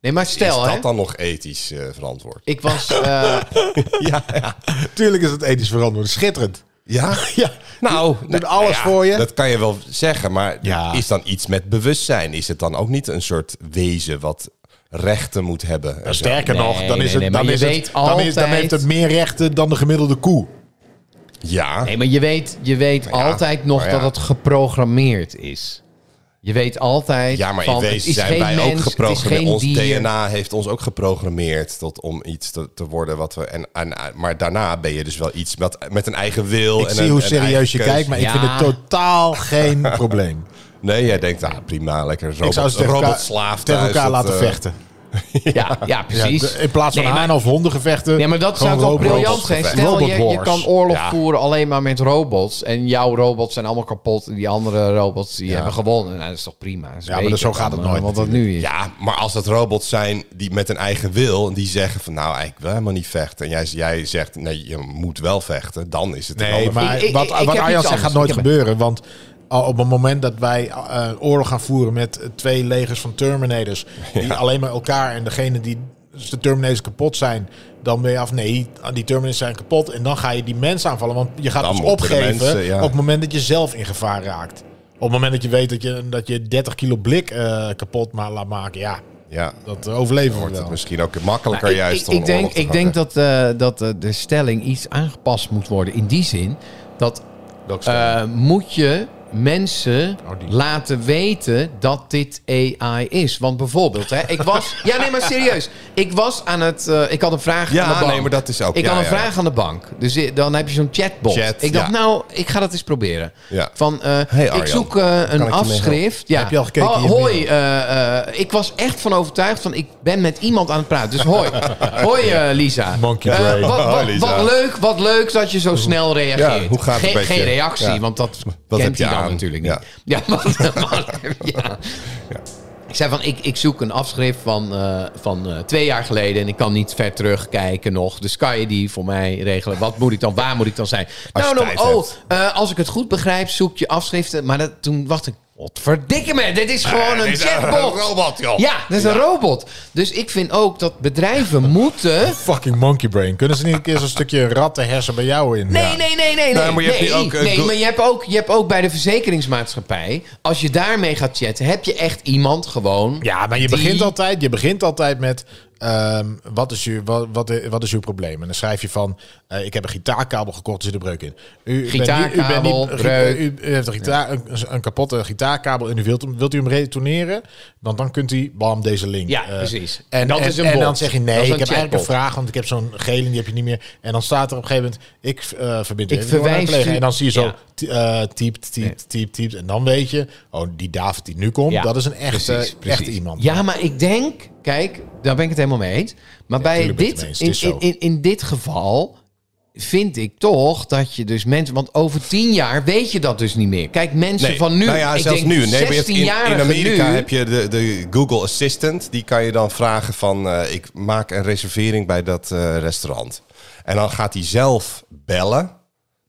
S3: nee, maar stel,
S2: Is
S3: hè.
S2: dat dan nog ethisch eh, verantwoord?
S3: Ik was...
S2: [laughs]
S3: eh,
S2: ja, ja.
S4: [laughs] Tuurlijk is het ethisch verantwoord. Schitterend.
S2: Ja?
S4: [laughs] Ja.
S2: Nou,
S4: doet
S2: nou
S4: alles
S2: ja,
S4: voor je.
S2: Dat kan je wel zeggen, maar
S4: Ja.
S2: is dan iets met bewustzijn? Is het dan ook niet een soort wezen wat rechten moet hebben? en zo?
S4: Sterker
S3: Nee,
S4: nog, dan
S3: nee,
S4: is
S3: nee,
S4: het
S3: maar
S4: dan
S3: je
S4: is het
S3: weet
S4: dan is dan
S3: altijd-
S4: heeft het meer rechten dan de gemiddelde koe.
S2: Ja.
S3: nee, maar je weet, je weet
S2: ja,
S3: altijd nog
S2: maar ja.
S3: dat het geprogrammeerd is. Je weet altijd
S2: Ja, maar
S3: van,
S2: in
S3: het
S2: wezen
S3: is
S2: zijn
S3: geen
S2: wij
S3: mens,
S2: ook
S3: het is
S2: geprogrammeerd.
S3: geen
S2: Ons
S3: dier.
S2: DNA heeft ons ook geprogrammeerd tot om iets te, te worden wat we. En, en- maar daarna ben je dus wel iets wat, met een eigen wil.
S4: Ik
S2: en
S4: zie
S2: een-
S4: hoe
S2: een eigen
S4: serieus je
S2: keuze.
S4: kijkt, maar ik
S3: Ja.
S4: vind het [laughs] totaal geen probleem.
S2: Nee, jij denkt, ah, prima, lekker robot,
S4: Ik zou ze tegen
S2: robotslaaf
S4: elkaar,
S2: thuis,
S4: tegen elkaar
S2: dat,
S4: laten
S2: eh,
S4: vechten.
S3: Ja, ja, precies.
S4: Ja, de- in plaats van
S3: Nee, maar-
S4: haan- of hondengevechten.
S3: Ja, maar dat
S4: gewoon
S3: zou toch
S4: robots.
S3: briljant zijn? Stel,
S4: Robot
S3: je, je
S4: wars.
S3: kan oorlog
S2: Ja.
S3: voeren alleen maar met robots. En jouw robots zijn allemaal kapot. En die andere robots die hebben gewonnen. Nou, dat is toch prima. Dat is
S4: Ja, maar
S3: beter
S4: zo gaat
S3: dan,
S4: het nooit
S3: eh, Wat dat nu is.
S2: Ja, maar als dat robots zijn die met een eigen wil en die zeggen van nou, eigenlijk wil helemaal niet vechten. En jij, jij zegt nee, je moet wel vechten, dan is het een
S4: Nee,
S2: ander
S4: maar
S3: Ik- ik-
S4: wat,
S3: ik heb
S4: wat
S3: iets
S4: Arjan zegt
S3: anders.
S4: gaat nooit
S3: Ik heb-
S4: gebeuren. Want al op het moment dat wij eh, oorlog gaan voeren met twee legers van Terminators... die alleen maar elkaar en degene die dus de Terminators kapot zijn... dan ben je af, nee, die Terminators zijn kapot. En dan ga je die mensen aanvallen. Want je gaat
S2: Dan
S4: ons
S2: moeten de
S4: opgeven
S2: mensen, ja.
S4: op het moment dat je zelf in gevaar raakt. Op het moment dat je weet dat je, dat je 30 kilo blik eh, kapot ma- laat maken. Ja,
S2: Ja,
S4: dat overleven we
S2: wordt het
S4: wel.
S2: misschien ook makkelijker
S3: Nou, ik-
S2: juist
S3: ik,
S2: om
S3: ik,
S2: een
S3: denk,
S2: oorlog te
S3: ik
S2: gaan
S3: denk
S2: vechten.
S3: dat, eh, dat eh, de stelling iets aangepast moet worden. In die zin dat
S4: Welke
S3: eh,
S4: stelling?
S3: moet je mensen
S4: Oh, die.
S3: laten weten dat dit AI is. Want bijvoorbeeld, hè, ik was... ja, nee, maar serieus. Ik was aan het... eh, ik had een vraag
S2: Ja,
S3: aan de bank.
S2: nee, maar dat is ook-
S3: Ik
S2: ja,
S3: had een
S2: ja.
S3: vraag aan de bank. Dus i- dan heb je zo'n chatbot.
S2: Chat,
S3: ik dacht,
S2: ja.
S3: nou, ik ga dat eens proberen.
S2: Ja.
S3: Van, eh, ik
S2: Arjan,
S3: zoek eh,
S2: ik je
S3: een
S2: mee
S3: afschrift. Ja. Oh,
S4: Heb je al gekeken in je
S3: hoi,
S4: mail?
S3: eh, eh, ik was echt van overtuigd van ik ben met iemand aan het praten. Dus
S2: [laughs]
S3: hoi. hoi eh, Lisa.
S4: Monkey
S3: Eh,
S4: brain.
S3: wat, wat-
S2: Hoi, Lisa.
S3: wat leuk, wat leuk dat je zo snel reageert.
S2: Ja, hoe gaat het
S3: Geen-
S2: met je?
S3: Geen reactie,
S2: Ja.
S3: want dat
S2: Wat
S3: kent
S2: heb je
S3: hij dan
S2: aan?
S3: natuurlijk
S2: Ja.
S3: niet. [laughs] Ja, wat, wat heb je aan? Ik zei van, ik, ik zoek een afschrift van, eh, van eh, twee jaar geleden en ik kan niet ver terugkijken nog. Dus kan je die voor mij regelen? Wat moet ik dan, waar moet ik dan zijn?
S2: je
S3: nou, dan,
S2: tijd
S3: oh,
S2: hebt.
S3: eh, als ik het goed begrijp, zoek je afschriften. Maar dat, toen wacht ik, wat verdikke me, dit is gewoon
S2: Eh,
S3: een
S2: dit is een
S3: chatbot.
S2: robot, joh.
S3: Ja, dit is een robot. Dus ik vind ook dat bedrijven [laughs] moeten...
S4: Fucking monkey brain. Kunnen ze niet een keer zo'n stukje rattenhersen bij jou in?
S3: Nee,
S4: Ja.
S3: nee, nee, nee.
S2: Nou,
S3: Nee,
S2: maar je hebt
S3: nee,
S2: nu ook, eh,
S3: nee,
S2: Go-
S3: maar je hebt, ook, je hebt ook bij de verzekeringsmaatschappij... als je daarmee gaat chatten, heb je echt iemand gewoon...
S4: Ja, maar je,
S3: die-
S4: begint, altijd, je begint altijd met. ehm, wat, is je, wat, wat, wat is uw probleem? En dan schrijf je van: eh, Ik heb een gitaarkabel gekocht, er zit een breuk in. U, bent niet-
S3: Gitaarkabel,
S4: u, bent niet-
S3: breuk.
S4: u, u heeft een, gitaar, een, een kapotte gitaarkabel en u wilt, hem- wilt u hem retourneren? Want dan kunt u, bam, deze link.
S3: Ja,
S4: Eh,
S3: precies.
S4: En,
S3: Dat
S4: en,
S3: is een
S4: en dan
S3: bot.
S4: zeg je: Nee, ik
S3: Dat is
S4: heb
S3: een
S4: eigenlijk een
S3: chatbot.
S4: vraag, want ik heb zo'n gele en die heb je niet meer. En dan staat er op een gegeven moment: Ik eh verbind u
S3: Ik
S4: even door naar
S3: verwijs
S4: een collega.
S3: u-
S4: En dan zie je zo:
S3: Ja.
S4: ty- eh, typt, typt, typt, typt. En dan weet je: Oh, die David die nu komt,
S3: Ja,
S4: dat is een
S2: eh,
S4: echte,
S3: precies, precies.
S4: echte eh, iemand.
S3: Ja, maar ik denk, kijk, daar ben ik het helemaal mee eens. Maar bij
S4: tuurlijk ben je
S3: dit,
S4: het mee eens,
S3: in,
S4: het is
S3: in,
S4: zo.
S3: in, in dit geval vind ik toch dat je dus mensen... Want over tien jaar weet je dat dus niet meer. Kijk, mensen van nu...
S2: Nou ja,
S3: ik
S2: zelfs
S3: denk
S2: nu. Nee, maar je hebt in,
S3: 16-jarigen
S2: in Amerika
S3: nu-
S2: heb je de, de Google Assistant. Die kan je dan vragen van... eh, ik maak een reservering bij dat eh, restaurant. En dan gaat hij zelf bellen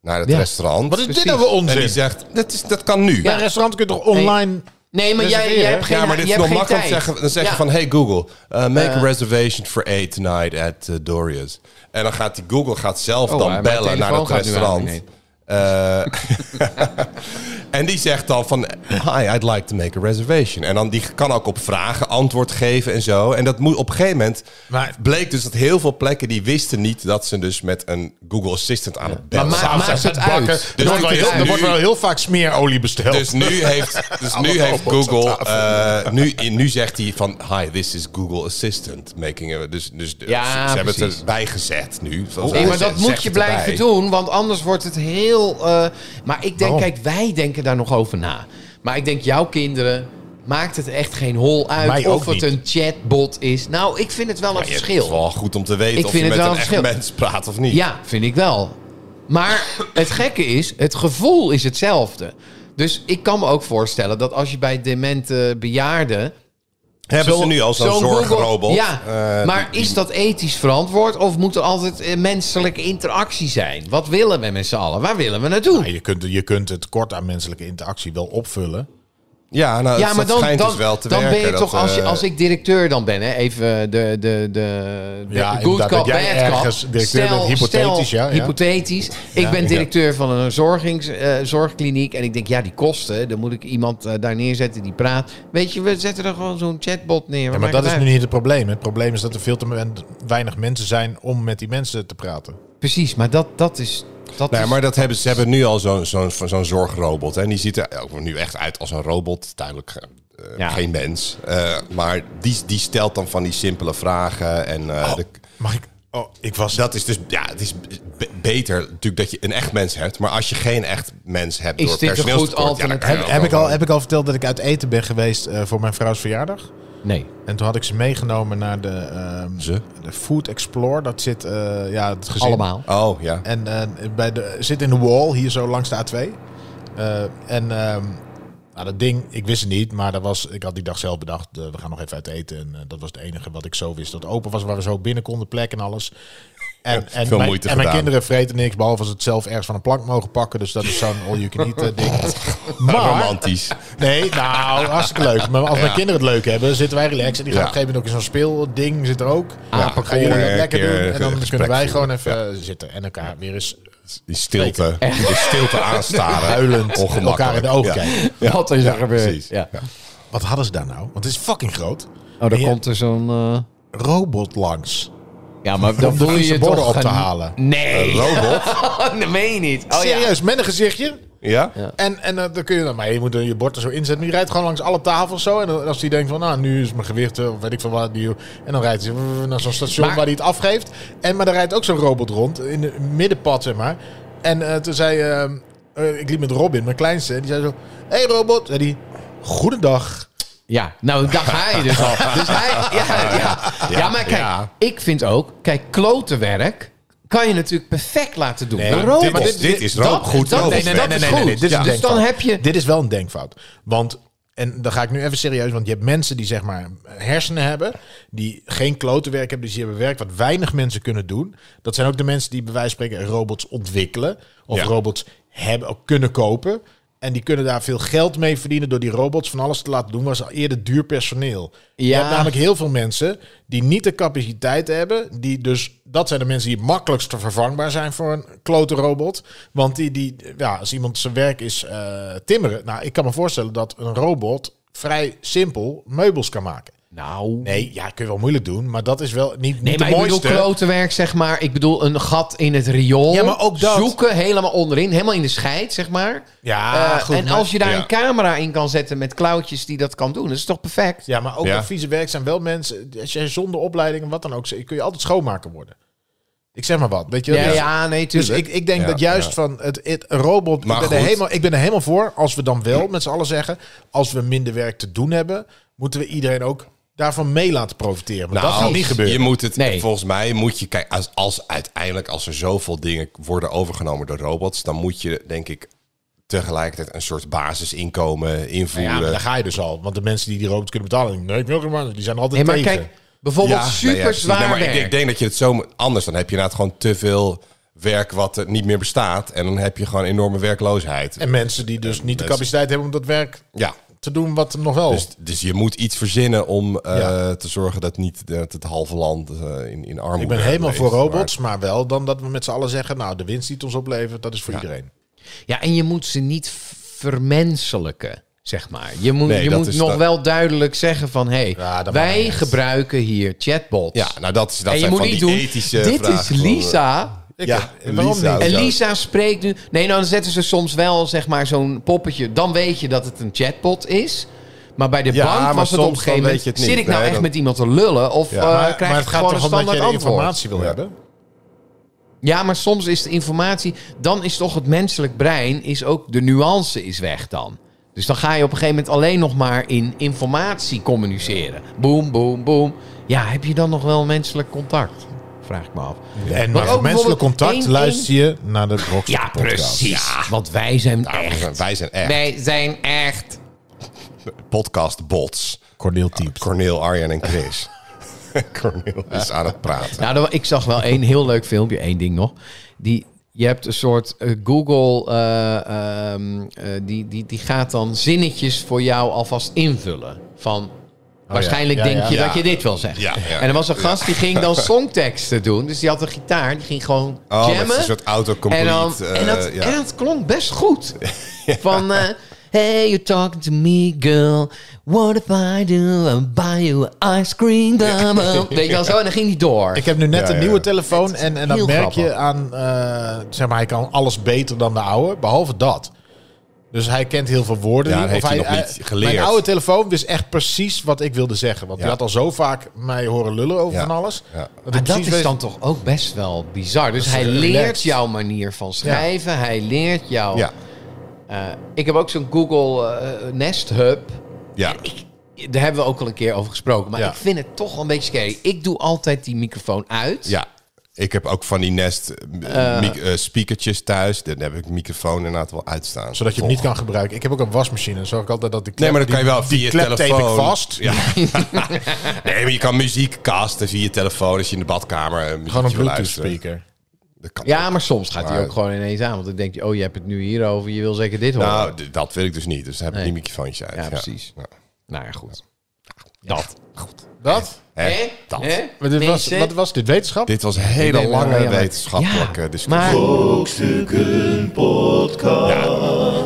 S2: naar het
S3: Ja.
S2: restaurant.
S4: Wat is dit
S3: Precies.
S4: nou voor
S2: en die
S4: onzin?
S2: zegt, dat, is, dat kan nu.
S4: Bij een restaurant kun je toch online...
S3: Nee, maar jij, jij
S4: Reserveren.
S3: hebt geen
S2: ja, maar dit
S3: je
S2: is nog
S3: hebt geen
S2: makkelijk
S3: tijd.
S2: zeggen. Dan zeg je
S3: Ja. Eh.
S2: van, hey Google, uh, make a reservation for 8 tonight at uh, Doria's. En dan gaat die Google gaat zelf
S3: Oh,
S2: dan
S3: mijn
S2: bellen naar
S3: telefoon
S2: het
S3: gaat
S2: restaurant.
S3: nu aan, nee.
S2: Eh, [laughs] en die zegt dan van, hi, I'd like to make a reservation. En dan die kan ook op vragen antwoord geven en zo. En dat moet op een gegeven moment...
S4: Maar-
S2: bleek dus dat heel veel plekken die wisten niet... dat ze dus met een Google Assistant aan het bellen
S3: Maar maakt-
S2: waren.
S3: maakt
S4: Zelfs
S3: het
S4: uit bakken.
S3: uit?
S4: Er, wordt wel
S2: Dus
S4: heel,
S2: het is
S4: er wordt
S2: nu-
S4: wel heel vaak smeerolie besteld.
S2: Dus nu heeft, dus nu heeft
S4: robots aan
S2: Google. eh, nu, nu zegt hij van. Hi, this is Google Assistant. Making a, dus dus
S3: Ja,
S2: ze, ze hebben het
S3: precies.
S2: erbij gezet nu.
S3: Nee, maar dat moet je blijven doen, want anders wordt het heel. eh, maar ik denk,
S4: Waarom?
S3: kijk, wij denken daar nog over na. Maar ik denk, jouw kinderen maakt het echt geen hol uit
S4: Mij
S3: of
S4: ook
S3: het
S4: niet.
S3: een chatbot is. Nou, ik vind het wel een
S2: Het is
S3: verschil.
S2: wel goed om te weten
S3: Ik
S2: of je
S3: vind
S2: met
S3: het wel
S2: een
S3: een
S2: echt
S3: verschil.
S2: mens praat of niet.
S3: Ja, vind ik wel. Maar het gekke is, het gevoel is hetzelfde. Dus ik kan me ook voorstellen dat als je bij demente bejaarden
S2: Hebben
S3: Zo-
S2: ze nu al zo'n
S3: Google-
S2: zorgrobot?
S3: Ja,
S2: Eh,
S3: maar is dat ethisch verantwoord of moet er altijd eh, menselijke interactie zijn? Wat willen we met z'n allen? Waar willen we naartoe?
S4: Ja, Nou, je, kunt, je kunt het tekort aan menselijke interactie wel opvullen.
S2: ja, nou,
S3: ja, maar
S2: dat
S3: dan,
S2: schijnt
S3: dan,
S2: dus wel te
S3: dan
S2: werken.
S3: ben je
S2: dat,
S3: toch, als, je,
S2: eh,
S3: als ik directeur dan ben, hè, even de, de, de, de
S4: Ja,
S3: good
S4: inderdaad,
S3: cop,
S4: dat jij
S3: bad cop.
S4: ergens directeur bent, hypothetisch, ja, ja.
S3: hypothetisch. Ik ben directeur van een zorgings, eh, zorgkliniek en ik denk, ja, die kosten, dan moet ik iemand eh, daar neerzetten die praat. Weet je, we zetten er gewoon zo'n chatbot neer.
S4: Ja,
S3: Wat
S4: maar
S3: maakt
S4: dat is
S3: het
S4: nu
S3: uit?
S4: niet het probleem. Het probleem is dat er veel te men- weinig mensen zijn om met die mensen te praten.
S3: Precies, maar dat, dat is... Dat
S2: Nee,
S3: is
S2: maar dat hebben, ze hebben nu al zo'n zo'n zo'n zorgrobot. En die ziet er ook nu echt uit als een robot. Duidelijk eh,
S3: Ja.
S2: geen mens. Eh, maar die, die stelt dan van die simpele vragen. En eh, de-
S4: Mag ik? Oh, ik was...
S2: dat is dus ja, het is be- beter natuurlijk dat je een echt mens hebt. Maar als je geen echt mens hebt
S3: Is
S2: door
S3: dit een goed
S2: personeelstekort... ja, dan kan je
S3: alternatief?
S2: ook
S4: heb, ik
S2: wel-
S4: al, heb ik al verteld dat ik uit eten ben geweest eh, voor mijn vrouws verjaardag?
S3: Nee.
S4: En toen had ik ze meegenomen naar de, ehm,
S2: Ze?
S4: de Food Explore. Dat zit, eh, ja, het gezin.
S3: Allemaal.
S2: Oh, ja.
S4: En eh, bij de, zit in de wall, hier zo langs de A2. Eh, en ehm, nou, dat ding, ik wist het niet, maar dat was, ik had die dag zelf bedacht, eh, we gaan nog even uit eten. En eh, dat was het enige wat ik zo wist dat open was, waar we zo binnen konden, plek en alles. En, en,
S2: veel
S4: mijn,
S2: moeite
S4: en mijn
S2: gedaan.
S4: kinderen vreten niks, behalve als ze het zelf ergens van een plank mogen pakken. Dus dat is zo'n all-you-can-eat eh, ding.
S2: [laughs]
S4: Maar,
S2: Romantisch.
S4: Nee, nou, [laughs] hartstikke leuk. Maar als mijn kinderen het leuk hebben, zitten wij relaxed. En die gaan
S2: Ja.
S4: op een gegeven moment ook in zo'n speelding zit er ook. Ja,
S3: Apenkool.
S4: gaan jullie dat
S2: Een
S4: lekker
S3: eh,
S2: keer
S4: doen.
S2: een
S4: En dan
S2: gesprek
S4: kunnen wij
S2: voeren.
S4: gewoon even eh, zitten en elkaar weer eens
S2: Die stilte. De stilte aanstaren.
S4: huilend
S2: Ongemakkelijk.
S4: elkaar in de ogen
S2: Ja.
S4: kijken.
S3: Wat is er gebeurd?
S2: precies.
S3: Ja.
S4: Wat hadden ze daar nou? Want het is fucking groot.
S3: Oh,
S4: En
S3: dan
S4: je-
S3: komt er zo'n... eh,
S4: robot langs.
S3: Ja, maar dan
S4: de
S3: wil je
S4: Griekse
S3: je
S4: borden
S3: toch
S4: op te
S3: gaan-
S4: halen.
S3: Nee,
S2: Robot?
S3: dat meen je niet. Oh, ja.
S4: Serieus, met een gezichtje.
S2: Ja?
S4: En, en eh, dan kun je dan, maar je moet dan je bord er zo inzetten. Maar je rijdt gewoon langs alle tafels zo. En dan- als die denkt van, nou, nu is mijn gewicht, eh, of weet ik veel wat. Die, en dan rijdt hij zo eh, naar zo'n station
S3: Maar-
S4: waar hij het afgeeft. En, maar daar rijdt ook zo'n robot rond, in het middenpad, zeg maar. En eh, toen zei, eh, eh, ik liep met Robin, mijn kleinste. En die zei zo, hey robot. En die, goedendag.
S3: ja, nou, daar ga je dus al. Dus hij, ja, ja. Ja, maar kijk,
S2: ja.
S3: ik vind ook... Kijk, klotenwerk kan je natuurlijk perfect laten doen.
S4: Nee,
S3: Een
S4: dit-
S3: robot.
S4: maar
S2: dit- dit is robot.
S3: dat-
S2: Goed
S3: dat-
S2: robot.
S3: nee, nee, nee,
S2: Dat
S3: nee,
S2: is
S3: nee, nee, nee,
S4: dit is een
S3: Dus
S4: denkfout.
S3: dan heb je...
S4: Dit is wel een denkfout. Want, en dan ga ik nu even serieus, want je hebt mensen die zeg maar hersenen hebben, die geen klotenwerk hebben, dus die hebben werk wat weinig mensen kunnen doen. Dat zijn ook de mensen die bij wijze van spreken robots ontwikkelen of
S2: Ja.
S4: robots hebben, ook kunnen kopen. En die kunnen daar veel geld mee verdienen door die robots van alles te laten doen, was eerder duur personeel. Je
S3: Ja.
S4: hebt namelijk heel veel mensen die niet de capaciteit hebben, die dus dat zijn de mensen die het makkelijkst vervangbaar zijn voor een klote robot. Want die, die, ja, als iemand zijn werk is eh, timmeren, nou, ik kan me voorstellen dat een robot vrij simpel meubels kan maken.
S3: Nou...
S4: Nee, ja, kun je wel moeilijk doen, maar dat is wel niet, niet
S3: Nee,
S4: de
S3: maar ik
S4: mooiste.
S3: bedoel klotenwerk, zeg maar. Ik bedoel een gat in het riool.
S4: Ja, maar ook dat.
S3: Zoeken helemaal onderin, helemaal in de scheid, zeg maar.
S4: Ja,
S3: Eh,
S4: goed,
S3: en
S4: maar-
S3: als je daar
S2: Ah, ja.
S3: een camera in kan zetten met klauwtjes die dat kan doen, dat is toch perfect?
S4: Ja, maar ook
S2: Ja.
S4: dat vieze werk zijn wel mensen. Als jij zonder opleiding en wat dan ook, kun je altijd schoonmaker worden. Ik zeg maar wat, weet je?
S3: Ja,
S4: Dus-
S3: ja, nee,
S4: Dus
S3: tuurlijk.
S4: ik, ik denk
S2: Ja,
S4: dat juist
S2: ja.
S4: van het, het robot.
S2: Maar
S4: ik, ben er
S2: goed.
S4: helemaal, ik ben er helemaal voor als we dan wel met z'n allen zeggen. Als we minder werk te doen hebben, moeten we iedereen ook daarvan mee laten profiteren. Maar dat gaat
S2: Nou,
S4: niet gebeuren.
S2: Je moet het,
S3: Nee.
S2: Volgens mij moet je kijken, als, als uiteindelijk als er zoveel dingen worden overgenomen door robots, dan moet je denk ik tegelijkertijd een soort basisinkomen invoeren.
S4: Ja,
S3: Nou
S4: maar daar ga je dus al. Want de mensen die die robot kunnen betalen, denken, nee, ik wil geen man, die zijn altijd
S3: Nee, maar
S4: tegen.
S3: kijk, bijvoorbeeld
S2: nou Ja,
S3: super
S2: nee, ja, precies.
S3: zwaar
S2: Nee, maar
S3: werk.
S2: ik, ik denk dat je het zo moet- anders dan heb je inderdaad gewoon te veel werk wat er niet meer bestaat en dan heb je gewoon enorme werkloosheid.
S4: En mensen die dus niet de
S2: mensen-
S4: capaciteit hebben om dat werk
S2: ja.
S4: te doen wat er nog wel...
S3: Oh.
S2: Dus, dus je moet iets verzinnen om eh,
S4: Ja.
S2: te zorgen dat niet dat het halve land eh, in, in armoede
S4: ik ben helemaal
S2: leeft.
S4: voor
S2: Maar-
S4: robots, maar wel dan dat we met z'n allen zeggen... nou, de winst die het ons oplevert, dat is voor iedereen.
S3: Ja, en je moet ze niet vermenselijken, zeg maar. Je moet,
S2: Nee,
S3: je
S2: dat
S3: moet
S2: is
S3: nog
S2: dat-
S3: wel duidelijk zeggen van... hé, hey,
S4: Ja, dat maakt
S3: wij
S4: niet uit.
S3: gebruiken hier chatbots.
S2: Ja, nou dat is dat
S3: en je
S2: zijn
S3: moet
S2: van
S3: niet
S2: die
S3: doen,
S2: ethische
S3: dit is
S2: vragen. eh,
S3: Lisa...
S4: Ik-
S2: Ja,
S4: waarom
S2: Lisa
S4: niet?
S2: ook.
S3: En
S2: Ja.
S3: Lisa spreekt nu... Nee, nou, dan zetten ze soms wel zeg maar zo'n poppetje. Dan weet je dat het een chatbot is. Maar bij de
S2: Ja,
S3: bank
S2: maar
S3: was het op een
S2: soms
S3: gegeven
S2: dan weet
S3: moment...
S2: je het niet.
S3: Zit ik nou
S2: Nee,
S3: echt
S2: dan-
S3: met iemand te lullen? Of eh
S2: Ja, maar-
S3: krijg
S4: maar
S3: ik
S4: het gaat
S3: gewoon een
S4: toch om dat
S3: standaard
S4: je de
S3: antwoord?
S4: informatie wil
S2: Ja.
S4: hebben?
S3: Ja, maar soms is de informatie... Dan is toch het menselijk brein... Is ook de nuance is weg dan. Dus dan ga je op een gegeven moment alleen nog maar in informatie communiceren. Boom, boom, boom. Ja, heb je dan nog wel menselijk contact? Vraag ik me af.
S4: En
S3: Maar
S4: met
S3: ook
S4: menselijk contact
S3: bijvoorbeeld één-
S4: luister je naar de Brox
S3: Ja,
S4: podcast.
S3: precies. Want wij zijn
S2: Ja, Nou, we
S3: echt...
S2: zijn- Wij zijn echt
S3: Wij zijn echt...
S2: podcastbots.
S4: Cornel type.
S2: Corneel, Arjen en
S3: [laughs]
S2: Chris. Corneel is aan het praten.
S3: Nou, er- ik zag wel één heel leuk filmpje, één ding nog. Die, je hebt een soort eh, Google, eh, ehm, eh, die, die, die gaat dan zinnetjes voor jou alvast invullen. Van, waarschijnlijk
S4: Ja,
S3: denk
S4: ja.
S3: je
S2: Oh Ja.
S3: dat je dit wil zeggen.
S2: Ja, ja.
S3: en er was een gast die ging
S2: [laughs]
S3: dan songteksten doen. Dus die had een gitaar, die ging gewoon
S2: Oh, met
S3: jammen.
S2: een soort autocomplete.
S3: En, dan, en, dat,
S2: eh, ja.
S3: en dat klonk best
S4: [laughs]
S3: goed. Van, eh, hey, you're talking to me, girl. What if I do? And buy you an ice cream.
S4: [laughs]
S3: dumbo. Weet je wel zo? En dan ging die door.
S4: Ik heb nu net
S2: Ja,
S4: een
S2: ja.
S4: nieuwe telefoon en, en dan
S3: heel
S4: merk
S3: grappig.
S4: je aan, eh, zeg maar, hij kan alles beter dan de oude, behalve dat. Dus hij kent heel veel woorden.
S2: Ja,
S4: niet,
S2: dat heeft hij nog
S4: eh,
S2: niet geleerd.
S4: Mijn oude telefoon wist echt precies wat ik wilde zeggen. Want
S2: Ja.
S4: hij had al zo vaak mij horen lullen over
S2: Ja.
S4: van alles.
S2: Ja.
S4: hij
S3: Maar dat
S4: precies
S3: is
S4: weet-
S3: dan toch ook best wel bizar. Dus
S4: is
S3: hij
S4: relaxed.
S3: leert jouw manier van schrijven. Hij leert jou...
S2: ja,
S3: Eh, ik heb ook zo'n Google eh, Nest Hub.
S2: ja.
S3: Daar hebben we ook al een keer over gesproken. Maar
S4: Ja.
S3: ik vind het toch wel een beetje scary. Ik doe altijd die microfoon uit.
S2: ja. Ik heb ook van die Nest eh, mic- eh, speakertjes thuis. Dan heb ik microfoon inderdaad wel uitstaan.
S4: Zodat je het niet kan gebruiken. Ik heb ook een wasmachine. Dan zorg ik altijd dat ik.
S2: Nee, maar dat kan je wel via je
S4: klep tape ik
S2: telefoon.
S4: vast.
S2: Ja. nee, maar je kan muziek casten via je telefoon als je in de badkamer eh, muziekje
S4: Gewoon een
S2: wil
S4: Bluetooth
S2: luisteren.
S4: speaker.
S2: Dat kan
S3: Ja,
S2: ook.
S3: maar soms gaat hij
S2: Maar-
S3: ook gewoon ineens aan. Want dan denk je, oh, je hebt het nu hierover. Je wil zeker dit horen. Nou,
S2: Nou, d- dat wil ik dus niet. Dus dan heb ik
S3: Nee.
S2: die microfoontjes uit.
S3: Ja, precies. Nou
S2: Ja.
S3: ja, goed. Dat.
S4: Dat?
S2: Hè?
S3: Hè?
S2: Dat.
S3: Hè?
S4: Maar dit was,
S3: Mensen?
S4: wat was dit? Wetenschap?
S2: Dit was een hele
S3: Nee, maar-
S2: lange
S3: ja, maar-
S2: wetenschappelijke
S3: Ja,
S2: discussie.
S3: maar-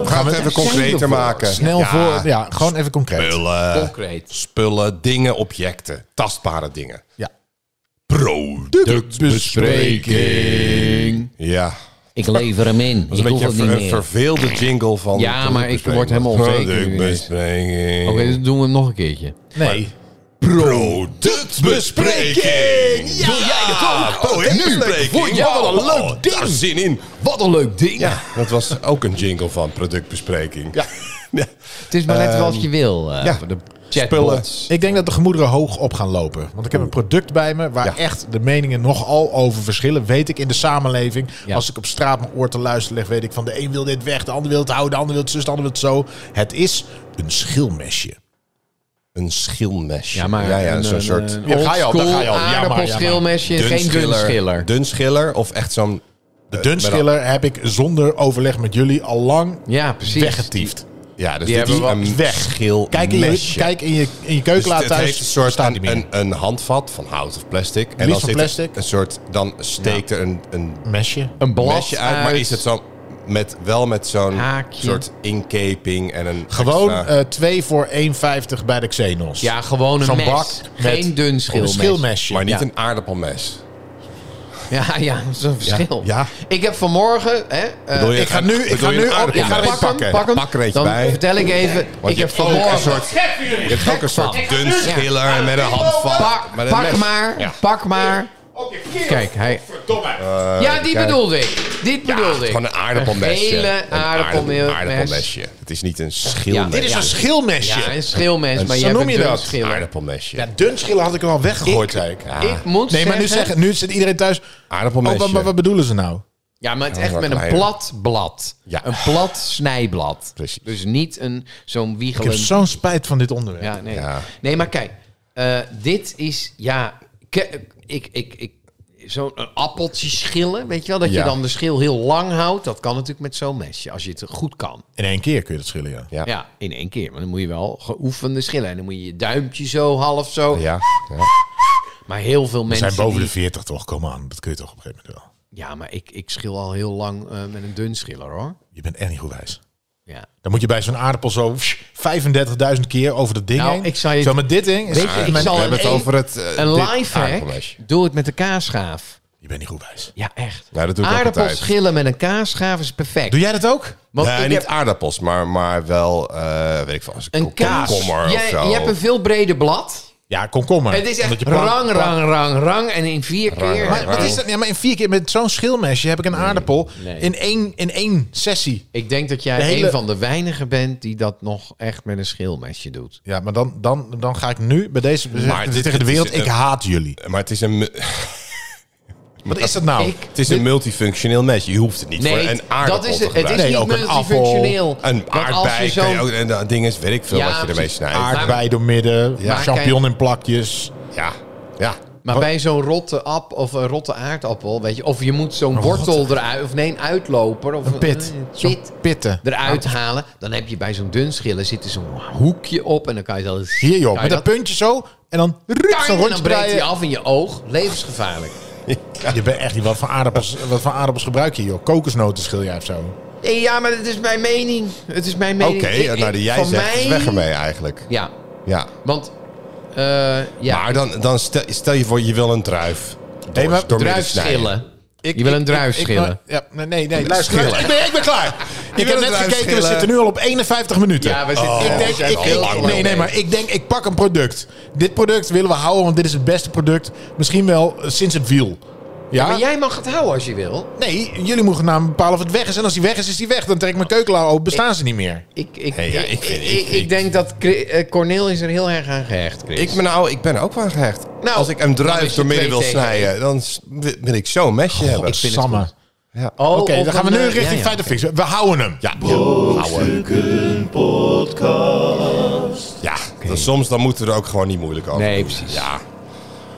S2: We gaan het even concreter maken.
S4: Snel
S2: Ja,
S4: voor. Ja, gewoon even concreet.
S2: Spullen,
S3: Concreet.
S2: spullen, dingen, objecten, tastbare dingen.
S4: Ja.
S2: Productbespreking. Ja,
S5: Ik lever hem in.
S2: [laughs] dat is
S5: Ik
S2: een
S5: hoef
S2: beetje
S5: het
S2: een, ver-
S5: niet
S2: een
S5: meer.
S2: verveelde jingle van.
S3: Ja,
S2: de
S3: maar ik
S2: productbespreking.
S3: word helemaal onzeker nu.
S2: Productbespreking.
S3: Oké, dus doen we hem nog een keertje.
S4: Nee.
S2: Productbespreking. Ja, Doe jij dat ook? Productbespreking.
S3: Vond je wel een
S2: Oh,
S3: leuk
S2: Daar zin in.
S3: Wat een leuk ding.
S2: Ja, dat was ook een jingle van productbespreking. Ja.
S3: Het is maar net wat je wil. eh,
S2: ja.
S3: voor de
S2: Spullen.
S3: chatbots.
S4: Ik denk dat de gemoederen hoog op gaan lopen. Want ik heb een product bij me waar
S2: Ja.
S4: echt de meningen nogal over verschillen. Weet ik in de samenleving.
S3: Ja.
S4: Als ik op straat mijn oor te luisteren leg, weet ik van de een wil dit weg, de ander wil het houden, de ander wil het zus, de ander wil het zo. Het is een schilmesje.
S2: Eh, Een schilmesje.
S3: Ja, maar
S2: ja, ja,
S3: een-
S2: zo'n
S3: een-
S2: soort...
S3: een
S4: Ja, ga je al, daar ga je al. Ja, maar, ja, maar.
S3: aardappelschilmesje, geen dun schiller.
S2: Dun schiller of echt zo'n...
S4: De dunschiller heb ik zonder overleg met jullie al lang
S3: Ja, precies.
S4: weggetiefd.
S2: Ja, dus
S3: Die
S2: dit is
S3: hebben we-
S2: een
S4: Weg.
S2: schilmesje.
S4: Kijk in je, kijk in je, in je
S2: Dus
S4: keukenlaar
S2: het
S4: thuis.
S2: heeft een soort
S4: staat niet
S2: een,
S4: meer.
S2: een, een handvat van hout of plastic. En
S4: Liefst
S2: dan
S4: van
S2: zit er
S4: plastic.
S2: een soort... Dan steekt er een, een
S4: mesje.
S3: Een blad
S2: mesje uit, maar is het zo... Met, wel met zo'n
S3: Haakje.
S2: soort inkeping en een...
S4: Gewoon
S2: extra-
S4: eh, twee voor 1,50 bij de Xenos.
S3: Ja, gewoon een
S4: Zo'n
S3: mes.
S4: bak
S3: geen
S4: met
S3: dun
S4: Een
S3: schilmes.
S4: schilmesje.
S2: maar niet
S3: ja.
S2: een aardappelmes.
S3: Ja, ja, dat is een verschil.
S2: ja.
S3: Ik heb vanmorgen... Hè, eh,
S2: Bedoel je-
S4: ik ga nu- ik
S2: bedoel
S4: ga
S2: je
S4: nu
S2: een
S4: op-
S2: aardappelmes?
S4: ik ga erin
S3: pak
S4: pakken.
S3: hem, pak hem.
S2: Pak er eentje
S3: Dan
S2: bij.
S3: vertel ik even... ik
S2: je
S3: heb
S2: hebt ook een
S3: vanmorgen...
S2: soort- Je hebt ook een soort dun schiller met een handvat.
S3: Pak,
S2: met een
S3: pak
S2: mes.
S3: maar, pak maar. Kijk, hij, ja, die
S2: Eh, kijk.
S3: bedoelde ik. Die bedoelde ik.
S2: Gewoon een aardappelmesje.
S3: Een gele
S2: Een
S3: aardappelmes.
S2: aardappel- aardappelmesje. Het is niet een schilmesje.
S4: Dit is
S3: Ja.
S4: een schilmesje.
S3: Ja, een schilmens, maar
S2: zo
S3: jij
S4: noem
S3: bent
S4: je
S3: wel
S4: dat.
S3: een schilmer.
S2: aardappelmesje.
S4: Ja, dun schillen had ik hem al weggegooid, zei ik.
S3: Ik moet
S4: Nee, maar nu, zeggen, nu zit iedereen thuis.
S2: Ah, Aardappelmesje.
S4: Oh, wat, wat, wat bedoelen ze nou?
S3: Ja, maar het is
S2: Ja,
S3: echt met een
S2: kleiner.
S3: plat blad.
S2: Ja.
S3: Een plat snijblad.
S2: Precies.
S3: Dus niet een zo'n
S4: Ik heb
S3: wiegelend...
S4: zo'n spijt van dit onderwerp.
S3: Ja, nee.
S2: Ja.
S3: nee, maar kijk. eh, dit is, ja... ke- Ik, ik, ik, zo'n een appeltje schillen, weet je wel? Dat je
S2: Ja.
S3: dan de schil heel lang houdt. Dat kan natuurlijk met zo'n mesje, als je het goed kan.
S4: In één keer kun je dat schillen, ja.
S2: Ja.
S3: Ja, in één keer. Maar dan moet je wel geoefende schillen. En dan moet je je duimpje zo, half zo.
S2: Ja, ja.
S3: Maar heel veel
S4: We
S3: mensen...
S4: zijn boven
S3: die-
S4: de 40 toch, kom aan. Dat kun je toch op een gegeven moment wel.
S3: Ja, maar ik, ik schil al heel lang eh, met een dun schiller, hoor.
S4: Je bent echt niet goed wijs.
S3: Ja.
S4: Dan moet je bij zo'n aardappel zo 35.000 keer over dat ding
S3: Nou,
S4: heen.
S3: ik zou je-
S4: Zo met dit ding. is-
S3: Weet je, ik
S4: Mijn-
S3: zal
S2: We hebben het
S3: een-
S2: over het... eh,
S3: Een
S2: dit
S3: lifehack,
S2: aardappelmesje.
S3: doe het met de kaasschaaf.
S4: Je bent niet goed wijs.
S3: Ja, echt.
S2: Nou, dat doe ik ook
S3: Aardappels
S2: altijd.
S3: schillen met een kaasschaaf is perfect.
S4: Doe jij dat ook?
S3: Want
S2: Nee,
S3: ik
S2: niet
S3: heb
S2: aardappels, maar, maar wel, eh, weet ik veel, als
S3: een kaas.
S2: komkommer of
S3: Jij-
S2: zo.
S3: je hebt een veel breder blad.
S4: Ja, komkommer.
S3: Het is echt
S4: Omdat je plan-
S3: rang,
S4: plan-
S3: rang, rang, rang. En in vier
S2: Rang,
S3: keer.
S2: rang,
S4: Maar, wat is dat? Ja, maar in vier keer met zo'n schilmesje heb ik een aardappel
S3: nee.
S4: In, één, in één sessie.
S3: Ik denk dat jij
S4: De hele-
S3: een van de weinigen bent die dat nog echt met een schilmesje doet.
S4: Ja, maar dan, dan, dan ga ik nu bij deze maar
S2: dit-
S4: tegen de
S2: dit is
S4: wereld,
S2: een-
S4: ik haat jullie.
S2: Maar het is een, mu-
S4: Wat is dat nou?
S3: Ik-
S2: het is een multifunctioneel mesje. Je hoeft het niet voor een aardappel
S3: dat is
S2: te
S3: het. Het is
S2: gebruiken.
S4: Nee,
S3: niet
S4: ook een appel,
S3: multifunctioneel.
S2: Een
S3: Want als je
S2: aardbei
S3: zo'n-
S2: kan je ook, en dat ding is, weet ik veel
S3: Ja,
S2: wat je ermee
S3: precies.
S2: snijdt.
S4: Aardbei door midden,
S3: Ja.
S4: champignon in plakjes.
S2: Ja, ja.
S3: Maar bij zo'n rotte ap of een rotte aardappel, weet je, of je moet zo'n wortel eruit, of nee, een uitloper of een
S4: Pit.
S3: een
S4: Zo'n
S3: pit
S4: pitten.
S3: eruit halen. Dan heb je bij zo'n dun schillen zit er zo'n hoekje op en dan kan je zo
S4: Hier joh,
S3: kan je
S4: met dat puntje zo. En dan rup,
S3: tang,
S4: zo'n
S3: en
S4: rondje
S3: dan breekt hij
S4: draaien.
S3: af in je oog. Levensgevaarlijk.
S4: Je bent echt niet wat voor aardappels, wat voor aardappels gebruik je joh. Kokosnoten schil jij of zo.
S3: Nee, eh, ja, maar het is mijn mening. Het is mijn mening.
S2: Oké,
S3: Ik- ik-
S2: nou die jij
S3: van
S2: zegt, is
S3: mij-
S2: weg ermee eigenlijk.
S3: Ja,
S2: Ja.
S3: want eh ja,
S2: Maar dan, dan stel, stel je voor, je wil een druif. Door,
S4: Nee, maar
S2: door midden snijden.
S3: druifschillen. je wil een druif schillen.
S4: Ja, nee, nee, nee, luister.
S2: Schillen.
S4: Ik ben, ik ben klaar. ik heb
S2: wil
S4: net
S2: eruit
S4: gekeken, we
S2: schillen.
S4: zitten nu al op 51 minuten. Oh,
S3: Ja, we zitten-
S4: ik
S3: we
S4: denk,
S3: zijn
S4: ik,
S3: al
S4: ik-
S2: lang
S4: nee, nee,
S3: mee.
S4: maar ik denk, ik pak een product. Dit product willen we houden, want dit is het beste product. Misschien wel eh, sinds het wiel. Ja?
S2: Ah.
S3: Maar jij mag het houden als je wil.
S4: Nee, jullie moeten gaan bepalen of het weg is. En als die weg is, is die weg. Dan trek ik mijn keukenlaar open, bestaan ze niet meer.
S3: Ik, ik,
S2: Nee, ja,
S3: ik,
S2: ik vind-
S3: ik-
S2: ik-
S3: ik
S2: ik-
S3: denk dat Cri- eh, Cornel is er heel erg aan gehecht, Chris.
S2: Ik ben, nou, ik ben er ook wel aan gehecht.
S3: Nou,
S2: Als ik een
S3: dan is
S2: druif
S3: je
S2: door midden
S3: twee
S2: wil
S3: tegen
S2: snijden, dan s- wil wil ik zo'n mesje hebben.
S4: Ik vind het Samme. goed.
S2: Ja.
S3: Oh,
S4: Oké,
S3: of
S4: dan gaan we nu
S3: eh,
S4: richting
S3: ja, ja.
S4: feiten fixen. We houden hem.
S2: Ja, ja. Ja, dan soms dan moeten we er ook gewoon niet moeilijk over
S3: Nee,
S2: doen.
S3: precies.
S2: Ja,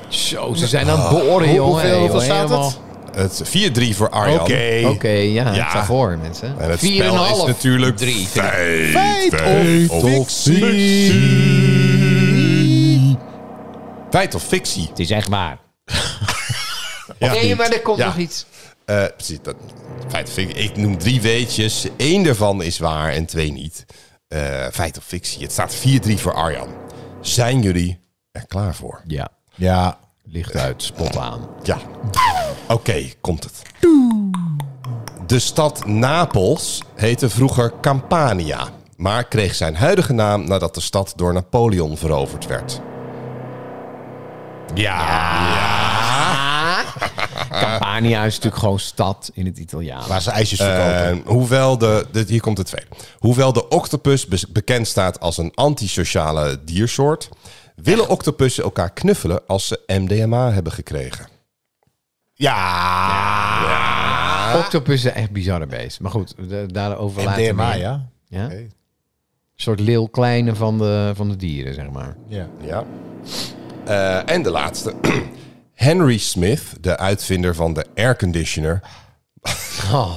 S3: Zo, ze zijn aan het boren,
S4: Hoe-
S3: jongen.
S4: hoeveel-
S3: Hey,
S4: hoeveel
S3: joh,
S4: staat
S3: helemaal-
S4: het?
S2: het 4-3 voor Arjan.
S3: Oké, ja,
S2: Ja.
S3: het staat voor, mensen.
S2: En het
S3: Vier en een
S2: spel is
S3: half.
S2: natuurlijk
S3: Drie.
S2: feit,
S4: Feit
S2: feit
S4: of
S2: fictie. Feit of fictie.
S5: Het is echt waar.
S2: Ja.
S3: Nee, maar er komt
S2: Ja.
S3: nog iets.
S2: Eh, precies, dat, feit of fictie. Ik noem drie weetjes. Eén daarvan is waar en twee niet. Eh, feit of fictie. Het staat 4-3 voor Arjan. Zijn jullie er klaar voor?
S3: Ja,
S4: Ja.
S3: licht uit, spot aan.
S2: Ja. Oké, komt het. De stad Napels heette vroeger Campania, maar kreeg zijn huidige naam nadat de stad door Napoleon veroverd werd.
S3: Campania is natuurlijk gewoon stad in het Italiaans.
S4: Waar ze ijsjes verkopen.
S2: En Ehm, hoewel de, dit- hier komt het tweede. Hoewel de octopus bes- bekend staat als een antisociale diersoort, willen octopussen elkaar knuffelen als ze MDMA hebben gekregen.
S4: ja.
S3: Octopus is een echt bizarre beest. Maar goed, da- daarover later
S4: DMA,
S3: meer.
S4: ja.
S3: Ja? Een soort leeuw kleine van de, van de dieren, zeg maar.
S4: ja.
S2: Ja. Eh, en de laatste. [clears throat] Henry Smith, de uitvinder van de airconditioner,
S3: [laughs] Oh.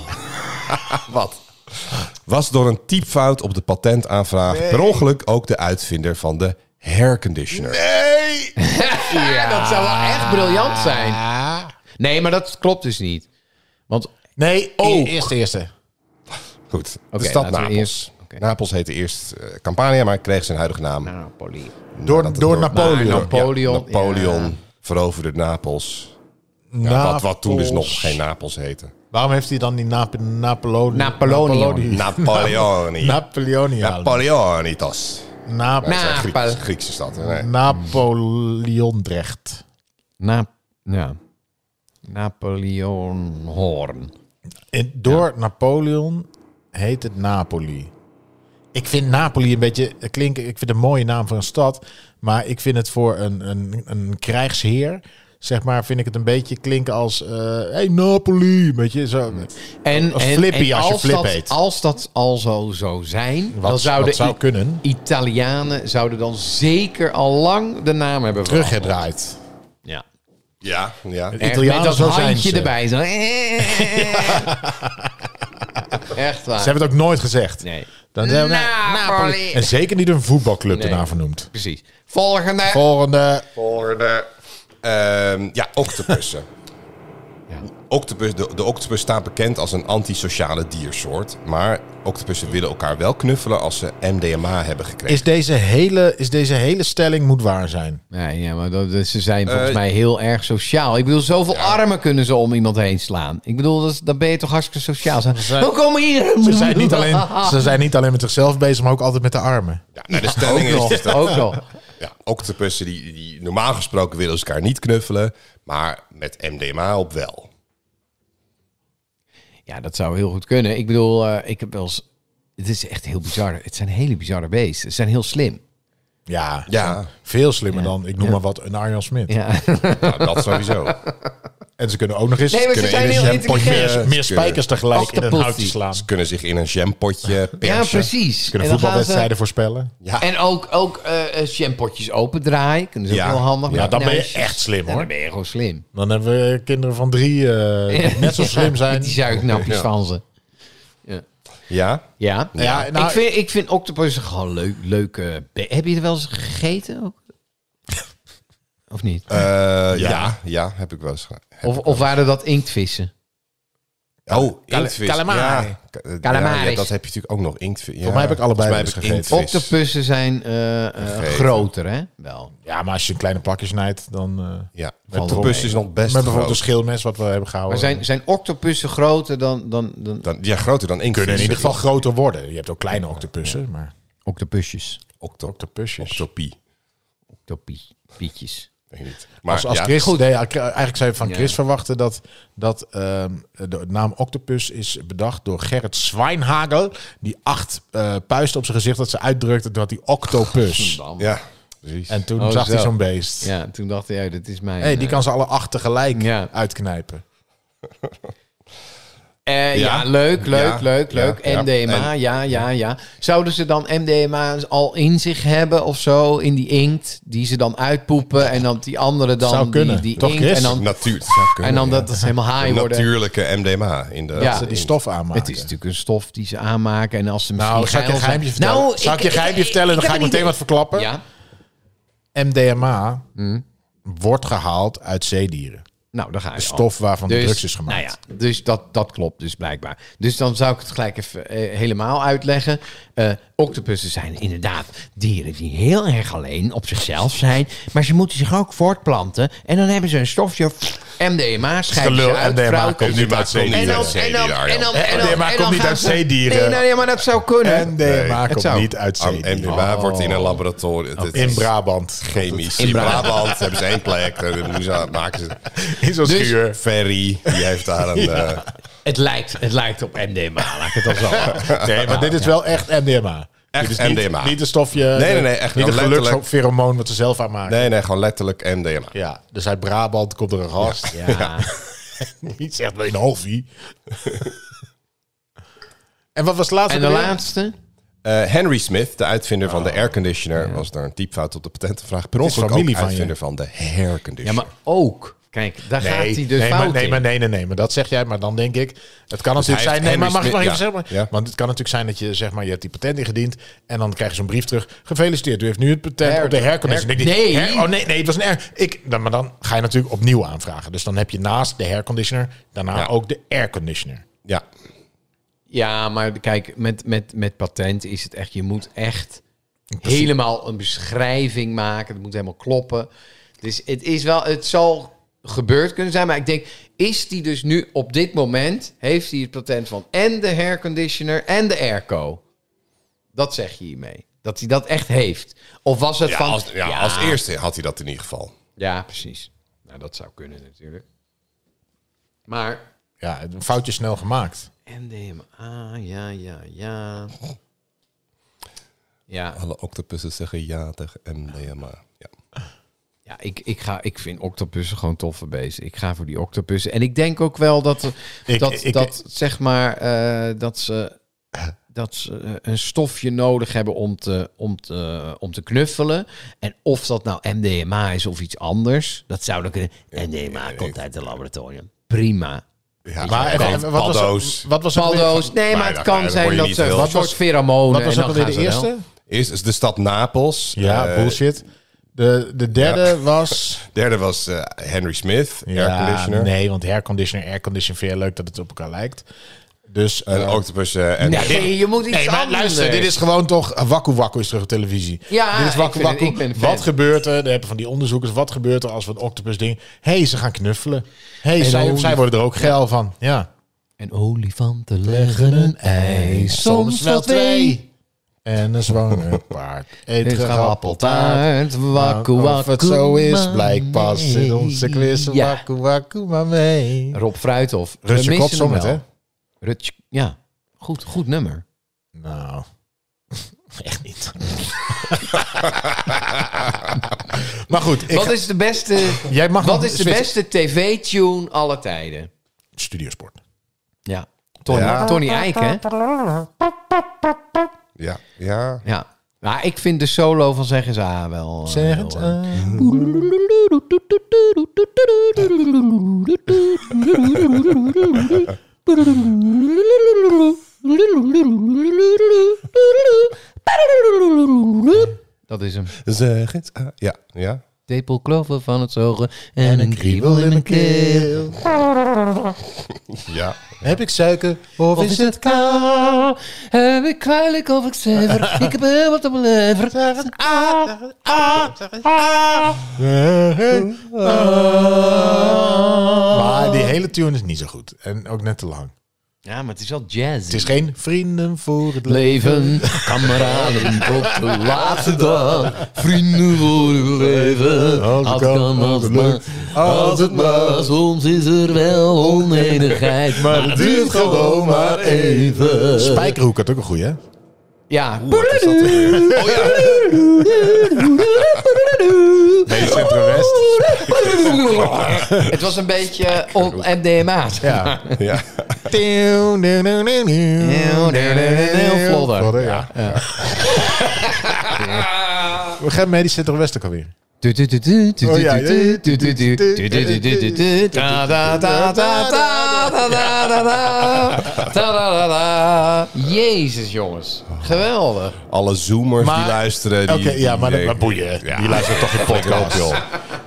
S2: Wat? Was door een typfout op de patentaanvraag per ongeluk ook de uitvinder van de hairconditioner.
S3: Dat zou wel echt briljant zijn. Nee, maar dat klopt dus niet. Want
S4: Nee,
S3: ook.
S4: Oh, Eerste, eerste.
S2: Goed,
S3: Oké,
S2: de stad
S3: laten we
S2: Napels.
S3: eerst- oké.
S2: Napels heette eerst eh, Campania, maar kreeg zijn huidige naam.
S3: Napoli.
S4: Door, door,
S2: nadat het
S4: Napoleon.
S3: Maar Napoleon,
S2: Ja, Napoleon
S3: ja.
S2: veroverde Napels. Ja,
S4: Napels.
S2: Wat, wat toen dus nog geen Napels heette.
S4: Nou, Waarom heeft hij dan die Nap Napoleon?
S3: Napoleon.
S4: [laughs]
S2: Napoleoni.
S3: [laughs]
S4: Napoleoni.
S2: Napoleonitas.
S4: Nap
S3: Na-
S2: Griek-
S3: Napel.
S2: Griekse stad. hè? Nee.
S4: Napoleondrecht.
S3: Na, ja. Napoleon Hoorn.
S4: En door Napoleon heet het Napoli. Ik vind Napoli een beetje eh, klinken. Ik vind het een mooie naam voor een stad. Maar ik vind het voor een, een, een krijgsheer. Zeg maar, vind ik het een beetje klinken als. eh hey, Napoli. Weet je zo.
S3: En,
S4: Als
S3: en,
S4: Flippy,
S3: en
S4: als je Flip
S3: dat,
S4: heet.
S3: Als dat al zo zou zijn,
S4: Wat-
S3: dan zouden
S4: wat zou
S3: I-
S4: kunnen.
S3: Italianen zouden dan zeker al lang de naam hebben veranderd.
S4: Teruggedraaid.
S3: Ja.
S2: Ja, ja.
S4: Echt, Italianen,
S3: met dat
S4: zo zijn
S3: handje
S4: ze.
S3: erbij. Zo. [laughs] Echt waar.
S4: Ze hebben het ook nooit gezegd.
S3: Nee.
S4: Dan zeggen we, nou,
S3: Napoli.
S4: En zeker niet een voetbalclub
S3: Nee.
S4: ernaar vernoemd.
S3: Precies. Volgende.
S4: Volgende.
S2: Volgende. Ehm, ja, octopussen.
S3: Ja.
S2: Octopus, de, de octopus staat bekend als een antisociale diersoort. Maar octopussen willen elkaar wel knuffelen als ze MDMA hebben gekregen.
S4: Is deze hele, is deze hele stelling moet waar zijn?
S3: Nee, ja, maar dat, ze zijn volgens
S2: Eh,
S3: mij heel erg sociaal. Ik bedoel, zoveel armen kunnen ze om iemand heen slaan. Ik bedoel, dat, is- dan ben je toch hartstikke sociaal. Ze
S4: zijn-
S3: "Oh, kom hier.
S4: Ze zijn, niet alleen, ze zijn niet alleen met zichzelf bezig, maar ook altijd met de armen.
S2: Ja, nou, de stelling is
S3: Nog,
S2: dus dat
S3: ook nog.
S2: ja, octopussen die, die normaal gesproken willen ze elkaar niet knuffelen. Maar met MDMA op wel.
S3: Ja, dat zou heel goed kunnen. Ik bedoel, eh, ik heb wel eens... Het is echt heel bizar. Het zijn hele bizarre beesten. Ze zijn heel slim.
S4: Ja,
S2: Ja.
S4: veel slimmer dan, ik noem maar wat, een Arjan Smit.
S3: Ja.
S2: Nou, dat sowieso.
S4: En ze kunnen ook nog eens
S3: Nee, maar ze
S4: kunnen
S3: zijn
S4: in een
S3: heel
S4: jampotje
S3: intelligent.
S4: meer, meer spijkers tegelijk in een
S3: Octopussy.
S4: houtje slaan.
S2: Ze
S4: Ze
S2: kunnen zich in een jampotje persen.
S3: Ja, precies.
S4: kunnen
S3: En dan gaan
S4: voetbalwedstrijden voorspellen.
S3: ze- En ook, ook eh eh, jampotjes opendraaien. Kunnen ze
S2: Ja.
S3: ook heel handig.
S4: Ja,
S3: maken.
S4: dan ben je
S3: als
S4: echt slim,
S3: Ja,
S4: hoor.
S3: Dan ben je gewoon slim.
S4: Dan hebben we kinderen van drie eh, die
S3: [laughs]
S4: net zo slim zijn.
S3: Met die zuignapjes
S2: Ja.
S3: van ze.
S2: Ja?
S3: Ja.
S4: Ja, nou,
S3: ik, vind, ik vind octopussen gewoon leuk, leuke... be- Heb je er wel eens gegeten
S4: [laughs]
S3: ook? Of niet?
S2: Eh, ja. ja,
S4: Ja.
S2: heb ik wel eens gedaan.
S4: Eh,
S3: Of, of waren dat inktvissen?
S2: Oh, inktvis.
S4: calamari.
S2: Ja, ka- eh,
S3: Calamaris.
S2: ja, dat heb je natuurlijk ook nog. Inktvis. Ja.
S4: mij heb ik allebei
S2: Volgens mij heb ik
S4: eens gegeten.
S2: inktvis.
S3: Octopussen zijn eh, eh,
S2: Gegeten.
S3: groter, hè? Wel.
S4: Ja, maar als je een kleine plakje snijdt, dan... eh
S2: Ja,
S4: Valt
S2: octopus
S4: wel
S2: is nog best
S4: met bijvoorbeeld een
S2: groot.
S4: schilmes wat we hebben
S3: Maar
S4: gehouden.
S3: zijn, zijn octopussen groter dan, dan, dan
S2: Dan, ja, groter dan inktvis.
S4: kunnen in ieder geval groter worden. Je hebt ook kleine octopussen, maar
S3: octopusjes?
S2: Octo-
S4: octopusjes.
S2: Octopie.
S3: Octopie, pietjes.
S2: Weet ik niet. Maar
S4: als als
S2: ja,
S4: Chris, nee, eigenlijk zou je van
S3: Ja.
S4: Chris verwachten dat, dat ehm, de naam octopus is bedacht door Gerrit Zwijnhagel. Die acht eh, puisten op zijn gezicht dat ze uitdrukte dat hij
S3: [laughs]
S4: octopus.
S2: Ja, precies.
S4: En toen
S3: Oh,
S4: zag hij
S3: zo.
S4: zo'n beest.
S3: Ja, toen dacht hij, ja, dit is mijn...
S4: hey, die
S3: eh,
S4: kan ze alle acht tegelijk
S3: Ja.
S4: uitknijpen.
S3: eh, ja.
S2: Ja.
S3: leuk, leuk,
S2: Ja.
S3: leuk, leuk.
S2: Ja.
S3: MDMA, ja, ja, ja. Zouden ze dan MDMA al in zich hebben of zo, in die inkt, die ze dan uitpoepen en dan die andere dan
S4: Zou kunnen.
S3: die, die
S4: Toch,
S3: inkt
S4: Chris? Nou,
S3: en dan,
S2: Natuur. het zou kunnen,
S3: en dan
S2: ja.
S3: dat ze helemaal
S2: Een
S3: high worden?
S2: natuurlijke MDMA. In de,
S3: Ja.
S4: Ze die
S2: in-
S4: stof aanmaken.
S3: Het is natuurlijk een stof die ze aanmaken en als ze misschien
S4: nou, zal ik je een
S3: geil zijn-
S4: geheimje vertellen?
S3: Nou,
S4: zal ik je een geheimje vertellen? Dan
S3: ik
S4: ga ik
S3: heb een
S4: meteen wat verklappen.
S3: Ja,
S4: MDMA
S2: Mm.
S4: wordt gehaald uit zeedieren.
S3: nou, daar ga je. al.
S4: Stof waarvan
S2: Dus-
S4: de drugs is gemaakt.
S3: Nou ja, dus dat, dat klopt dus blijkbaar. Dus dan zou ik het gelijk even eh, helemaal uitleggen. Eh, octopussen zijn inderdaad dieren die heel erg alleen op zichzelf zijn. Maar ze moeten zich ook voortplanten. En dan hebben ze een stofje MDMA, schijnt
S4: Gelul,
S3: ze uit,
S4: MDMA
S3: vrouwt-
S4: komt
S2: Nu
S4: niet uit
S2: maakt het
S4: zeedieren.
S2: niet
S3: en dan,
S2: uit
S3: en dan,
S2: zeedieren,
S3: en dan,
S2: Arjan.
S3: en dan,
S4: MDMA
S3: en
S4: komt
S3: dan
S4: niet
S3: gaan
S4: uit
S3: ze-
S4: zeedieren.
S3: Nee, nee, maar dat zou kunnen.
S4: MDMA
S3: het
S4: komt
S3: zou-
S4: niet uit
S2: Arm-
S4: zeedieren.
S2: MDMA wordt in een laboratorium. het is
S4: Oh. In Brabant.
S2: [laughs] Chemisch. In Brabant hebben ze één plek. eh, dan doen ze- maken ze.
S4: [laughs] In zo'n
S3: Dus-
S4: schuur.
S2: Ferry, die heeft daar
S4: [laughs]
S2: een. eh,
S3: Het lijkt, het lijkt op MDMA, laat ik het dan zo
S4: [laughs] Nee, maar dit is wel echt MDMA.
S2: Echt
S4: Dit is niet,
S2: MDMA.
S4: Niet een stofje.
S2: Nee, nee, nee, echt
S4: Niet een
S2: wel letterlijk.
S4: geluksferomoon wat ze zelf aanmaken.
S2: nee, nee, gewoon letterlijk MDMA.
S4: Ja, dus uit Brabant komt er een
S2: [laughs]
S4: gast.
S3: Ja.
S4: Niet zegt bij een halfie. [laughs] en wat was het laatste?
S3: En de
S4: weer?
S3: laatste?
S2: Eh, Henry Smith, de uitvinder van
S4: Oh.
S2: de airconditioner, was daar een typfout op de patentenvraag. Per ongeluk
S4: familie
S2: ook
S4: van je.
S2: uitvinder van de
S3: Ja,
S2: hairconditioner.
S3: maar ook. Kijk, daar gaat hij
S4: Nee,
S3: de
S4: nee,
S3: fout
S4: maar, nee,
S3: in.
S4: maar nee, nee, nee, maar dat zeg jij. Maar dan denk ik, het kan natuurlijk zijn.
S2: hij heeft
S4: Nee, maar mag
S2: Henry
S4: ik maar even
S2: Smith-
S4: zeggen?
S2: ja, ja.
S4: Want het kan natuurlijk zijn dat je zeg maar je hebt die patent ingediend en dan krijg je zo'n brief terug. Gefeliciteerd, u heeft nu het patent
S3: Her-
S4: op de herconditioner.
S3: her-
S4: Ik denk,
S3: Nee.
S4: her- oh nee, nee, het was een air. Ik, dan, maar dan ga je natuurlijk opnieuw aanvragen. Dus dan heb je naast de herconditioner daarna
S2: Ja.
S4: ook de airconditioner.
S2: Ja,
S3: Ja, maar kijk, met, met, met patent is het echt... Je moet echt helemaal een beschrijving maken. Het moet helemaal kloppen. Dus het is wel... Het zal gebeurd kunnen zijn. Maar ik denk, is die dus nu op dit moment... Heeft hij het patent van en de hairconditioner en de airco? Dat zeg je hiermee. Dat hij dat echt heeft. Of was het
S2: Ja,
S3: van...
S2: als, ja, als eerste had hij dat in ieder geval.
S3: Ja, precies. Nou, dat zou kunnen natuurlijk. Maar
S4: Ja, een foutje snel gemaakt.
S3: MDMA, ja, ja, ja. Ja,
S2: Alle octopussen zeggen ja tegen MDMA. Ja.
S3: ja ik, ik, ga, ik vind octopussen gewoon toffe beesten. Ik ga voor die octopussen. En ik denk ook wel dat,
S4: Ik-
S3: dat,
S4: ik-
S3: dat zeg maar, eh, dat ze, dat ze eh, een stofje nodig hebben om te, om, te, om te knuffelen. En of dat nou MDMA is of iets anders, dat zou dan kunnen. MDMA komt uit het laboratorium. Prima.
S2: Ja,
S4: Maar even, even, wat was
S2: Baldo's.
S4: wat was ook alweer-
S3: Paldo's. Nee, maar het
S2: dat-
S3: kan
S2: dat
S3: zijn
S2: word je
S3: dat
S2: niet
S3: ze
S2: heel-
S3: een
S2: Wat
S3: soort
S4: was-
S3: pheromonen...
S4: Wat was
S3: en
S4: ook
S3: dan
S4: alweer
S3: gaan
S4: de
S3: ze wel.
S4: eerste?
S2: Eerst is de stad Napels.
S4: Ja,
S2: Eh,
S4: bullshit. De, de derde was...
S2: Derde was eh, Henry Smith, airconditioner.
S4: nee, want airconditioner, aircondition vind je leuk dat het op elkaar lijkt. Dus... eh,
S2: En octopussen en...
S3: Nee, je moet iets
S4: Nee, maar
S3: anders.
S4: luister, dit is gewoon toch... eh, Wakku Wakku is terug op televisie.
S3: Ja,
S4: dit is
S3: ik
S4: Wakku
S3: vind het-
S4: Wakku.
S3: ik ben fan.
S4: Wat gebeurt er? Daar hebben van die onderzoekers. Wat gebeurt er als we een octopus ding... Hé, hey, ze gaan knuffelen. Hé, hey, zij,
S3: dan-
S4: zij worden er ook geil van. Ja.
S3: En olifanten leggen een ei, soms wel twee.
S4: En een zwanger
S3: [laughs]
S4: paard eet
S3: Dit
S4: gehappeltaart. Nou,
S3: wakku
S4: Of
S3: wakku.
S4: het zo is,
S3: maar
S4: blijkbaar
S3: nee.
S4: zit onze quiz
S3: Ja.
S4: wakku wakku maar mee.
S3: Rob Fruithof. We
S4: Rutje
S3: missen
S4: Kop zong
S3: hem
S4: het,
S3: wel.
S4: hè?
S3: Rutje, ja, goed, goed nummer.
S4: Nou, [laughs] echt
S3: [laughs]
S4: niet. maar goed, ik
S3: Wat
S4: ga-
S3: is de beste,
S4: [laughs] jij mag
S3: wat
S4: nog
S3: is de
S4: switchen.
S3: beste tv-tune alle tijden?
S4: Studiosport.
S3: Ja, Tony, Tony Eijk, hè?
S2: Ja, ja.
S3: Ja. Maar ik vind de solo van Zeggen ze A wel... eh,
S4: Zeg het.
S3: heel, eh,
S4: eh.
S3: Dat is hem.
S2: Zeg het. ah, ja, ja.
S3: Tepelkloven van het zogen en een kriebel in
S4: mijn
S3: mijn keel.
S4: keel.
S2: Ja.
S4: Heb ik suiker of, is het
S3: kaal? Heb ik kwijlijk of ik zever? Ik heb heel wat op mijn lever. Ah, ah, ah.
S4: Eh.
S3: Ah.
S4: Maar die hele tune is niet zo goed. En ook net te lang.
S3: Ja, maar het is wel jazz.
S4: Het is geen vrienden voor het leven.
S3: Leven, kameraden tot de laatste dag. Vrienden voor uw leven.
S4: Als het
S3: Als,
S4: kan,
S3: kan,
S4: als
S3: als
S4: het
S3: het maar.
S4: lukt,
S3: Als het maar. Soms is er wel [laughs] onenigheid. Maar het duurt gewoon maar even.
S4: Spijkerhoek had ook een goeie, hè?
S3: Ja.
S2: Nee, Centro-West.
S3: Het was een beetje op MDMA. [laughs]
S4: Ja.
S2: ja.
S3: Heel vlodder.
S4: ja. We gaan mee die Centro-Westen alweer.
S3: Oh,
S4: Oh,
S3: Jezus jongens, geweldig.
S2: Alle zoomers
S4: Maar-
S2: die luisteren. die-
S4: Oké, ja,
S2: die-
S4: maar dat
S2: die-
S4: maar boeien.
S2: Ja.
S4: Die luisteren toch geen podcast,
S2: Joh.
S4: joh.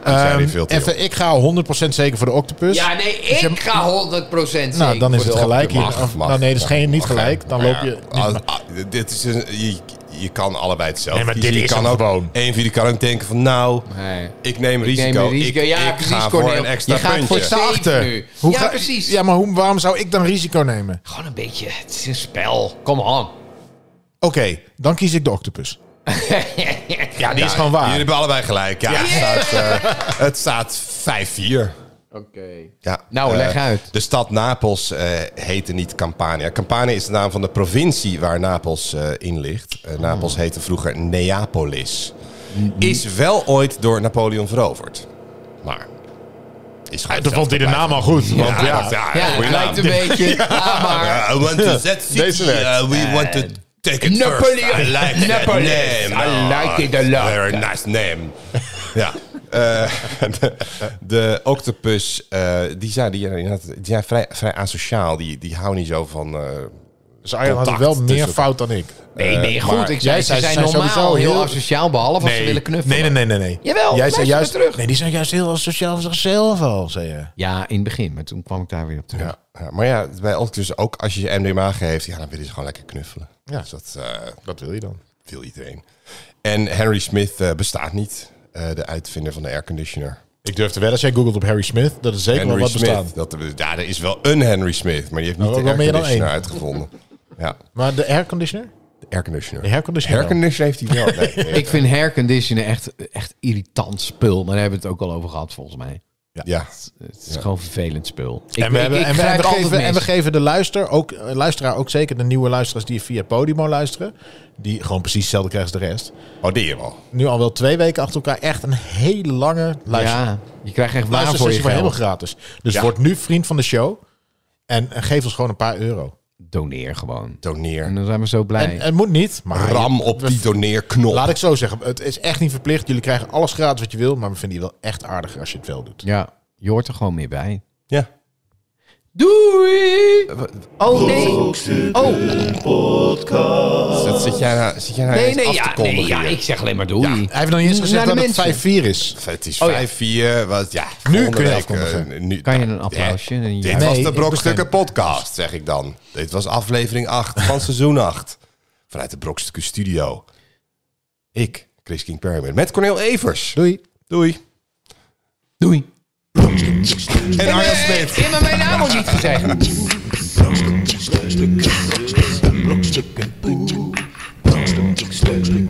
S2: Die zijn niet veel te jong.
S4: Ehm, Even, ik ga 100% zeker voor de octopus.
S3: Ja nee, ik ga 100% zeker.
S4: Dus nou, dan is
S3: voor
S4: het
S3: de
S4: gelijk.
S3: Octopus.
S4: Hier. Of- nou, nee, dat is
S2: mag,
S4: geen, niet
S2: mag,
S4: gelijk. Dan loop
S2: Maar
S4: je...
S2: ja,
S4: niet-
S2: als- ah, dit is een, je, je kan allebei hetzelfde.
S4: Nee, maar
S2: kiezen.
S4: dit
S2: je
S4: is
S2: kan
S4: hem
S2: ook,
S4: gewoon.
S2: Een van jullie kan ook denken van nou,
S3: Nee.
S2: ik neem risico.
S3: neem een risico.
S2: Ik,
S3: Ja,
S2: ik
S3: precies,
S2: ga voor
S3: Cornel.
S2: een extra
S3: Je gaat
S2: puntje.
S3: voor
S4: Ik sta
S3: Safe
S4: achter.
S3: nu. Ja,
S4: ga-
S3: precies.
S4: Ja, maar hoe, waarom zou ik dan risico nemen?
S3: Gewoon een beetje, het is een spel. Kom on. [laughs]
S4: Oké, dan kies ik de octopus. Ja, die is gewoon
S2: Jullie
S4: waar.
S2: hebben allebei gelijk. Ja, het, staat, eh, het staat 5-4.
S3: Oké.
S2: Ja,
S3: Nou,
S2: eh,
S3: leg uit.
S2: De stad Napels eh, heette niet Campania. Campania is de naam van de provincie waar Napels eh, in ligt.
S3: Ah.
S2: Eh, Napels heette vroeger Neapolis. Is wel ooit door Napoleon veroverd. Maar is gewoon
S4: Dan vond hij de
S2: zelf
S4: naam al goed. Want
S2: erbij. Ja,
S4: ja,
S2: ja,
S3: Ja,
S2: goeie
S3: het lijkt
S2: naam.
S3: een beetje. Ah, maar.
S2: Ja, Uh, I want [laughs] to that city.
S4: Deze werkt.
S2: Uh, we want to take it
S3: Napoleon.
S2: first. I like that
S3: Napoleon.
S2: name.
S3: I like it a
S2: Ah,
S3: lot.
S2: Very nice [laughs] name. ja. Eh, de, de octopus, eh, die, zijn, die, die zijn vrij, vrij asociaal. Die, die houden niet zo van... eh,
S4: Dus Arjan had het wel
S2: Contact
S4: meer
S2: tussen-
S4: fout dan ik.
S3: Nee, nee,
S4: Eh,
S3: goed.
S4: maar jij
S3: Ik zei, ze
S4: zei-
S3: zijn
S4: ze zijn
S3: normaal
S4: sowieso
S3: heel
S4: heel-
S3: asociaal, behalve als ze willen knuffelen.
S4: Nee, nee, nee, nee. nee.
S3: Jawel,
S4: jij
S3: luister
S4: zei
S3: maar
S4: juist,
S3: terug.
S4: Nee, die zijn juist heel asociaal voor zichzelf al, zei je.
S3: Ja, in het begin, maar toen kwam ik daar weer op terug.
S2: ja. Ja, maar ja, bij octopus ook als je je MDMA geeft, ja, dan willen ze gewoon lekker knuffelen.
S4: Ja.
S2: Dus dat eh,
S4: Wat wil je dan?
S2: wil iedereen. En Henry Smith eh, bestaat niet. eh, de uitvinder van de airconditioner.
S4: Ik durf te wedden, als jij googelt op Harry Smith, dat is zeker wel
S2: Henry
S4: wat bestaan.
S2: Smith. Dat, ja, er is wel een Henry Smith, maar die heeft niet
S4: Oh,
S2: de
S4: wel meer dan
S2: airconditioner uitgevonden. Ja,
S4: Maar de airconditioner?
S2: de airconditioner.
S4: De airconditioner wel.
S2: Airconditioner heeft hij wel. Nee, nee.
S3: Ik vind hairconditioner echt, echt irritant spul, maar daar hebben we het ook al over gehad, volgens mij.
S2: Ja.
S3: Het is gewoon vervelend spul. Ik-
S4: en, we
S3: ik-
S4: hebben,
S3: ik
S4: en, we
S3: grijp altijd
S4: geven, en we
S3: mis.
S4: geven de luister, ook, eh, luisteraar, ook zeker de nieuwe luisteraars die via Podimo luisteren, die gewoon precies hetzelfde krijgen als de rest.
S2: Oh, die wel.
S4: Nu al wel twee weken achter elkaar echt een hele lange luister.
S3: Ja, je krijgt echt waar voor je
S4: Luistersessie voor helemaal
S3: geld.
S4: gratis. Dus
S2: Ja.
S4: word nu vriend van de show en, en geef ons gewoon een paar euro.
S3: Doneer gewoon. En
S2: Doneer.
S3: dan zijn we zo blij.
S4: En het moet niet, maar
S2: Ram op die doneerknop.
S4: laat ik zo zeggen, het is echt niet verplicht. Jullie krijgen alles gratis wat je wil, maar we vinden je wel echt aardiger als je het wel doet.
S3: ja, je hoort er gewoon meer bij.
S2: Ja.
S3: Doei! Oh nee! Oh
S2: Dat zit jij nou, zit jij nou
S3: nee,
S2: eens
S3: nee,
S2: af
S3: ja,
S2: te kondigen
S3: nee, ja,
S2: hier?
S3: ik zeg alleen maar doei.
S4: Hij heeft nog niet eens gezegd
S3: Naar
S4: dat
S3: de
S4: het 5-4 is.
S2: Het is
S3: Oh, ja.
S2: 5-4. wat, ja, volgende
S4: kun je
S2: week,
S4: afkondigen.
S2: eh, nu,
S3: Kan je een applausje?
S2: Eh,
S3: Een
S2: dit
S3: ja-
S2: was
S4: Nee,
S2: de
S4: ik
S2: Brokstukken podcast, zeg ik dan. Dit was aflevering 8 van seizoen 8. Vanuit de Brokstukken studio. Ik, Chris King Perryman, met Cornel Evers.
S4: Doei.
S2: Doei.
S3: Doei!
S2: En Arjan Smit.
S3: Je hebt mijn naam al niet gezegd.
S1: Brokstukken, brokstukken, brokstukken, brokstukken, brokstukken,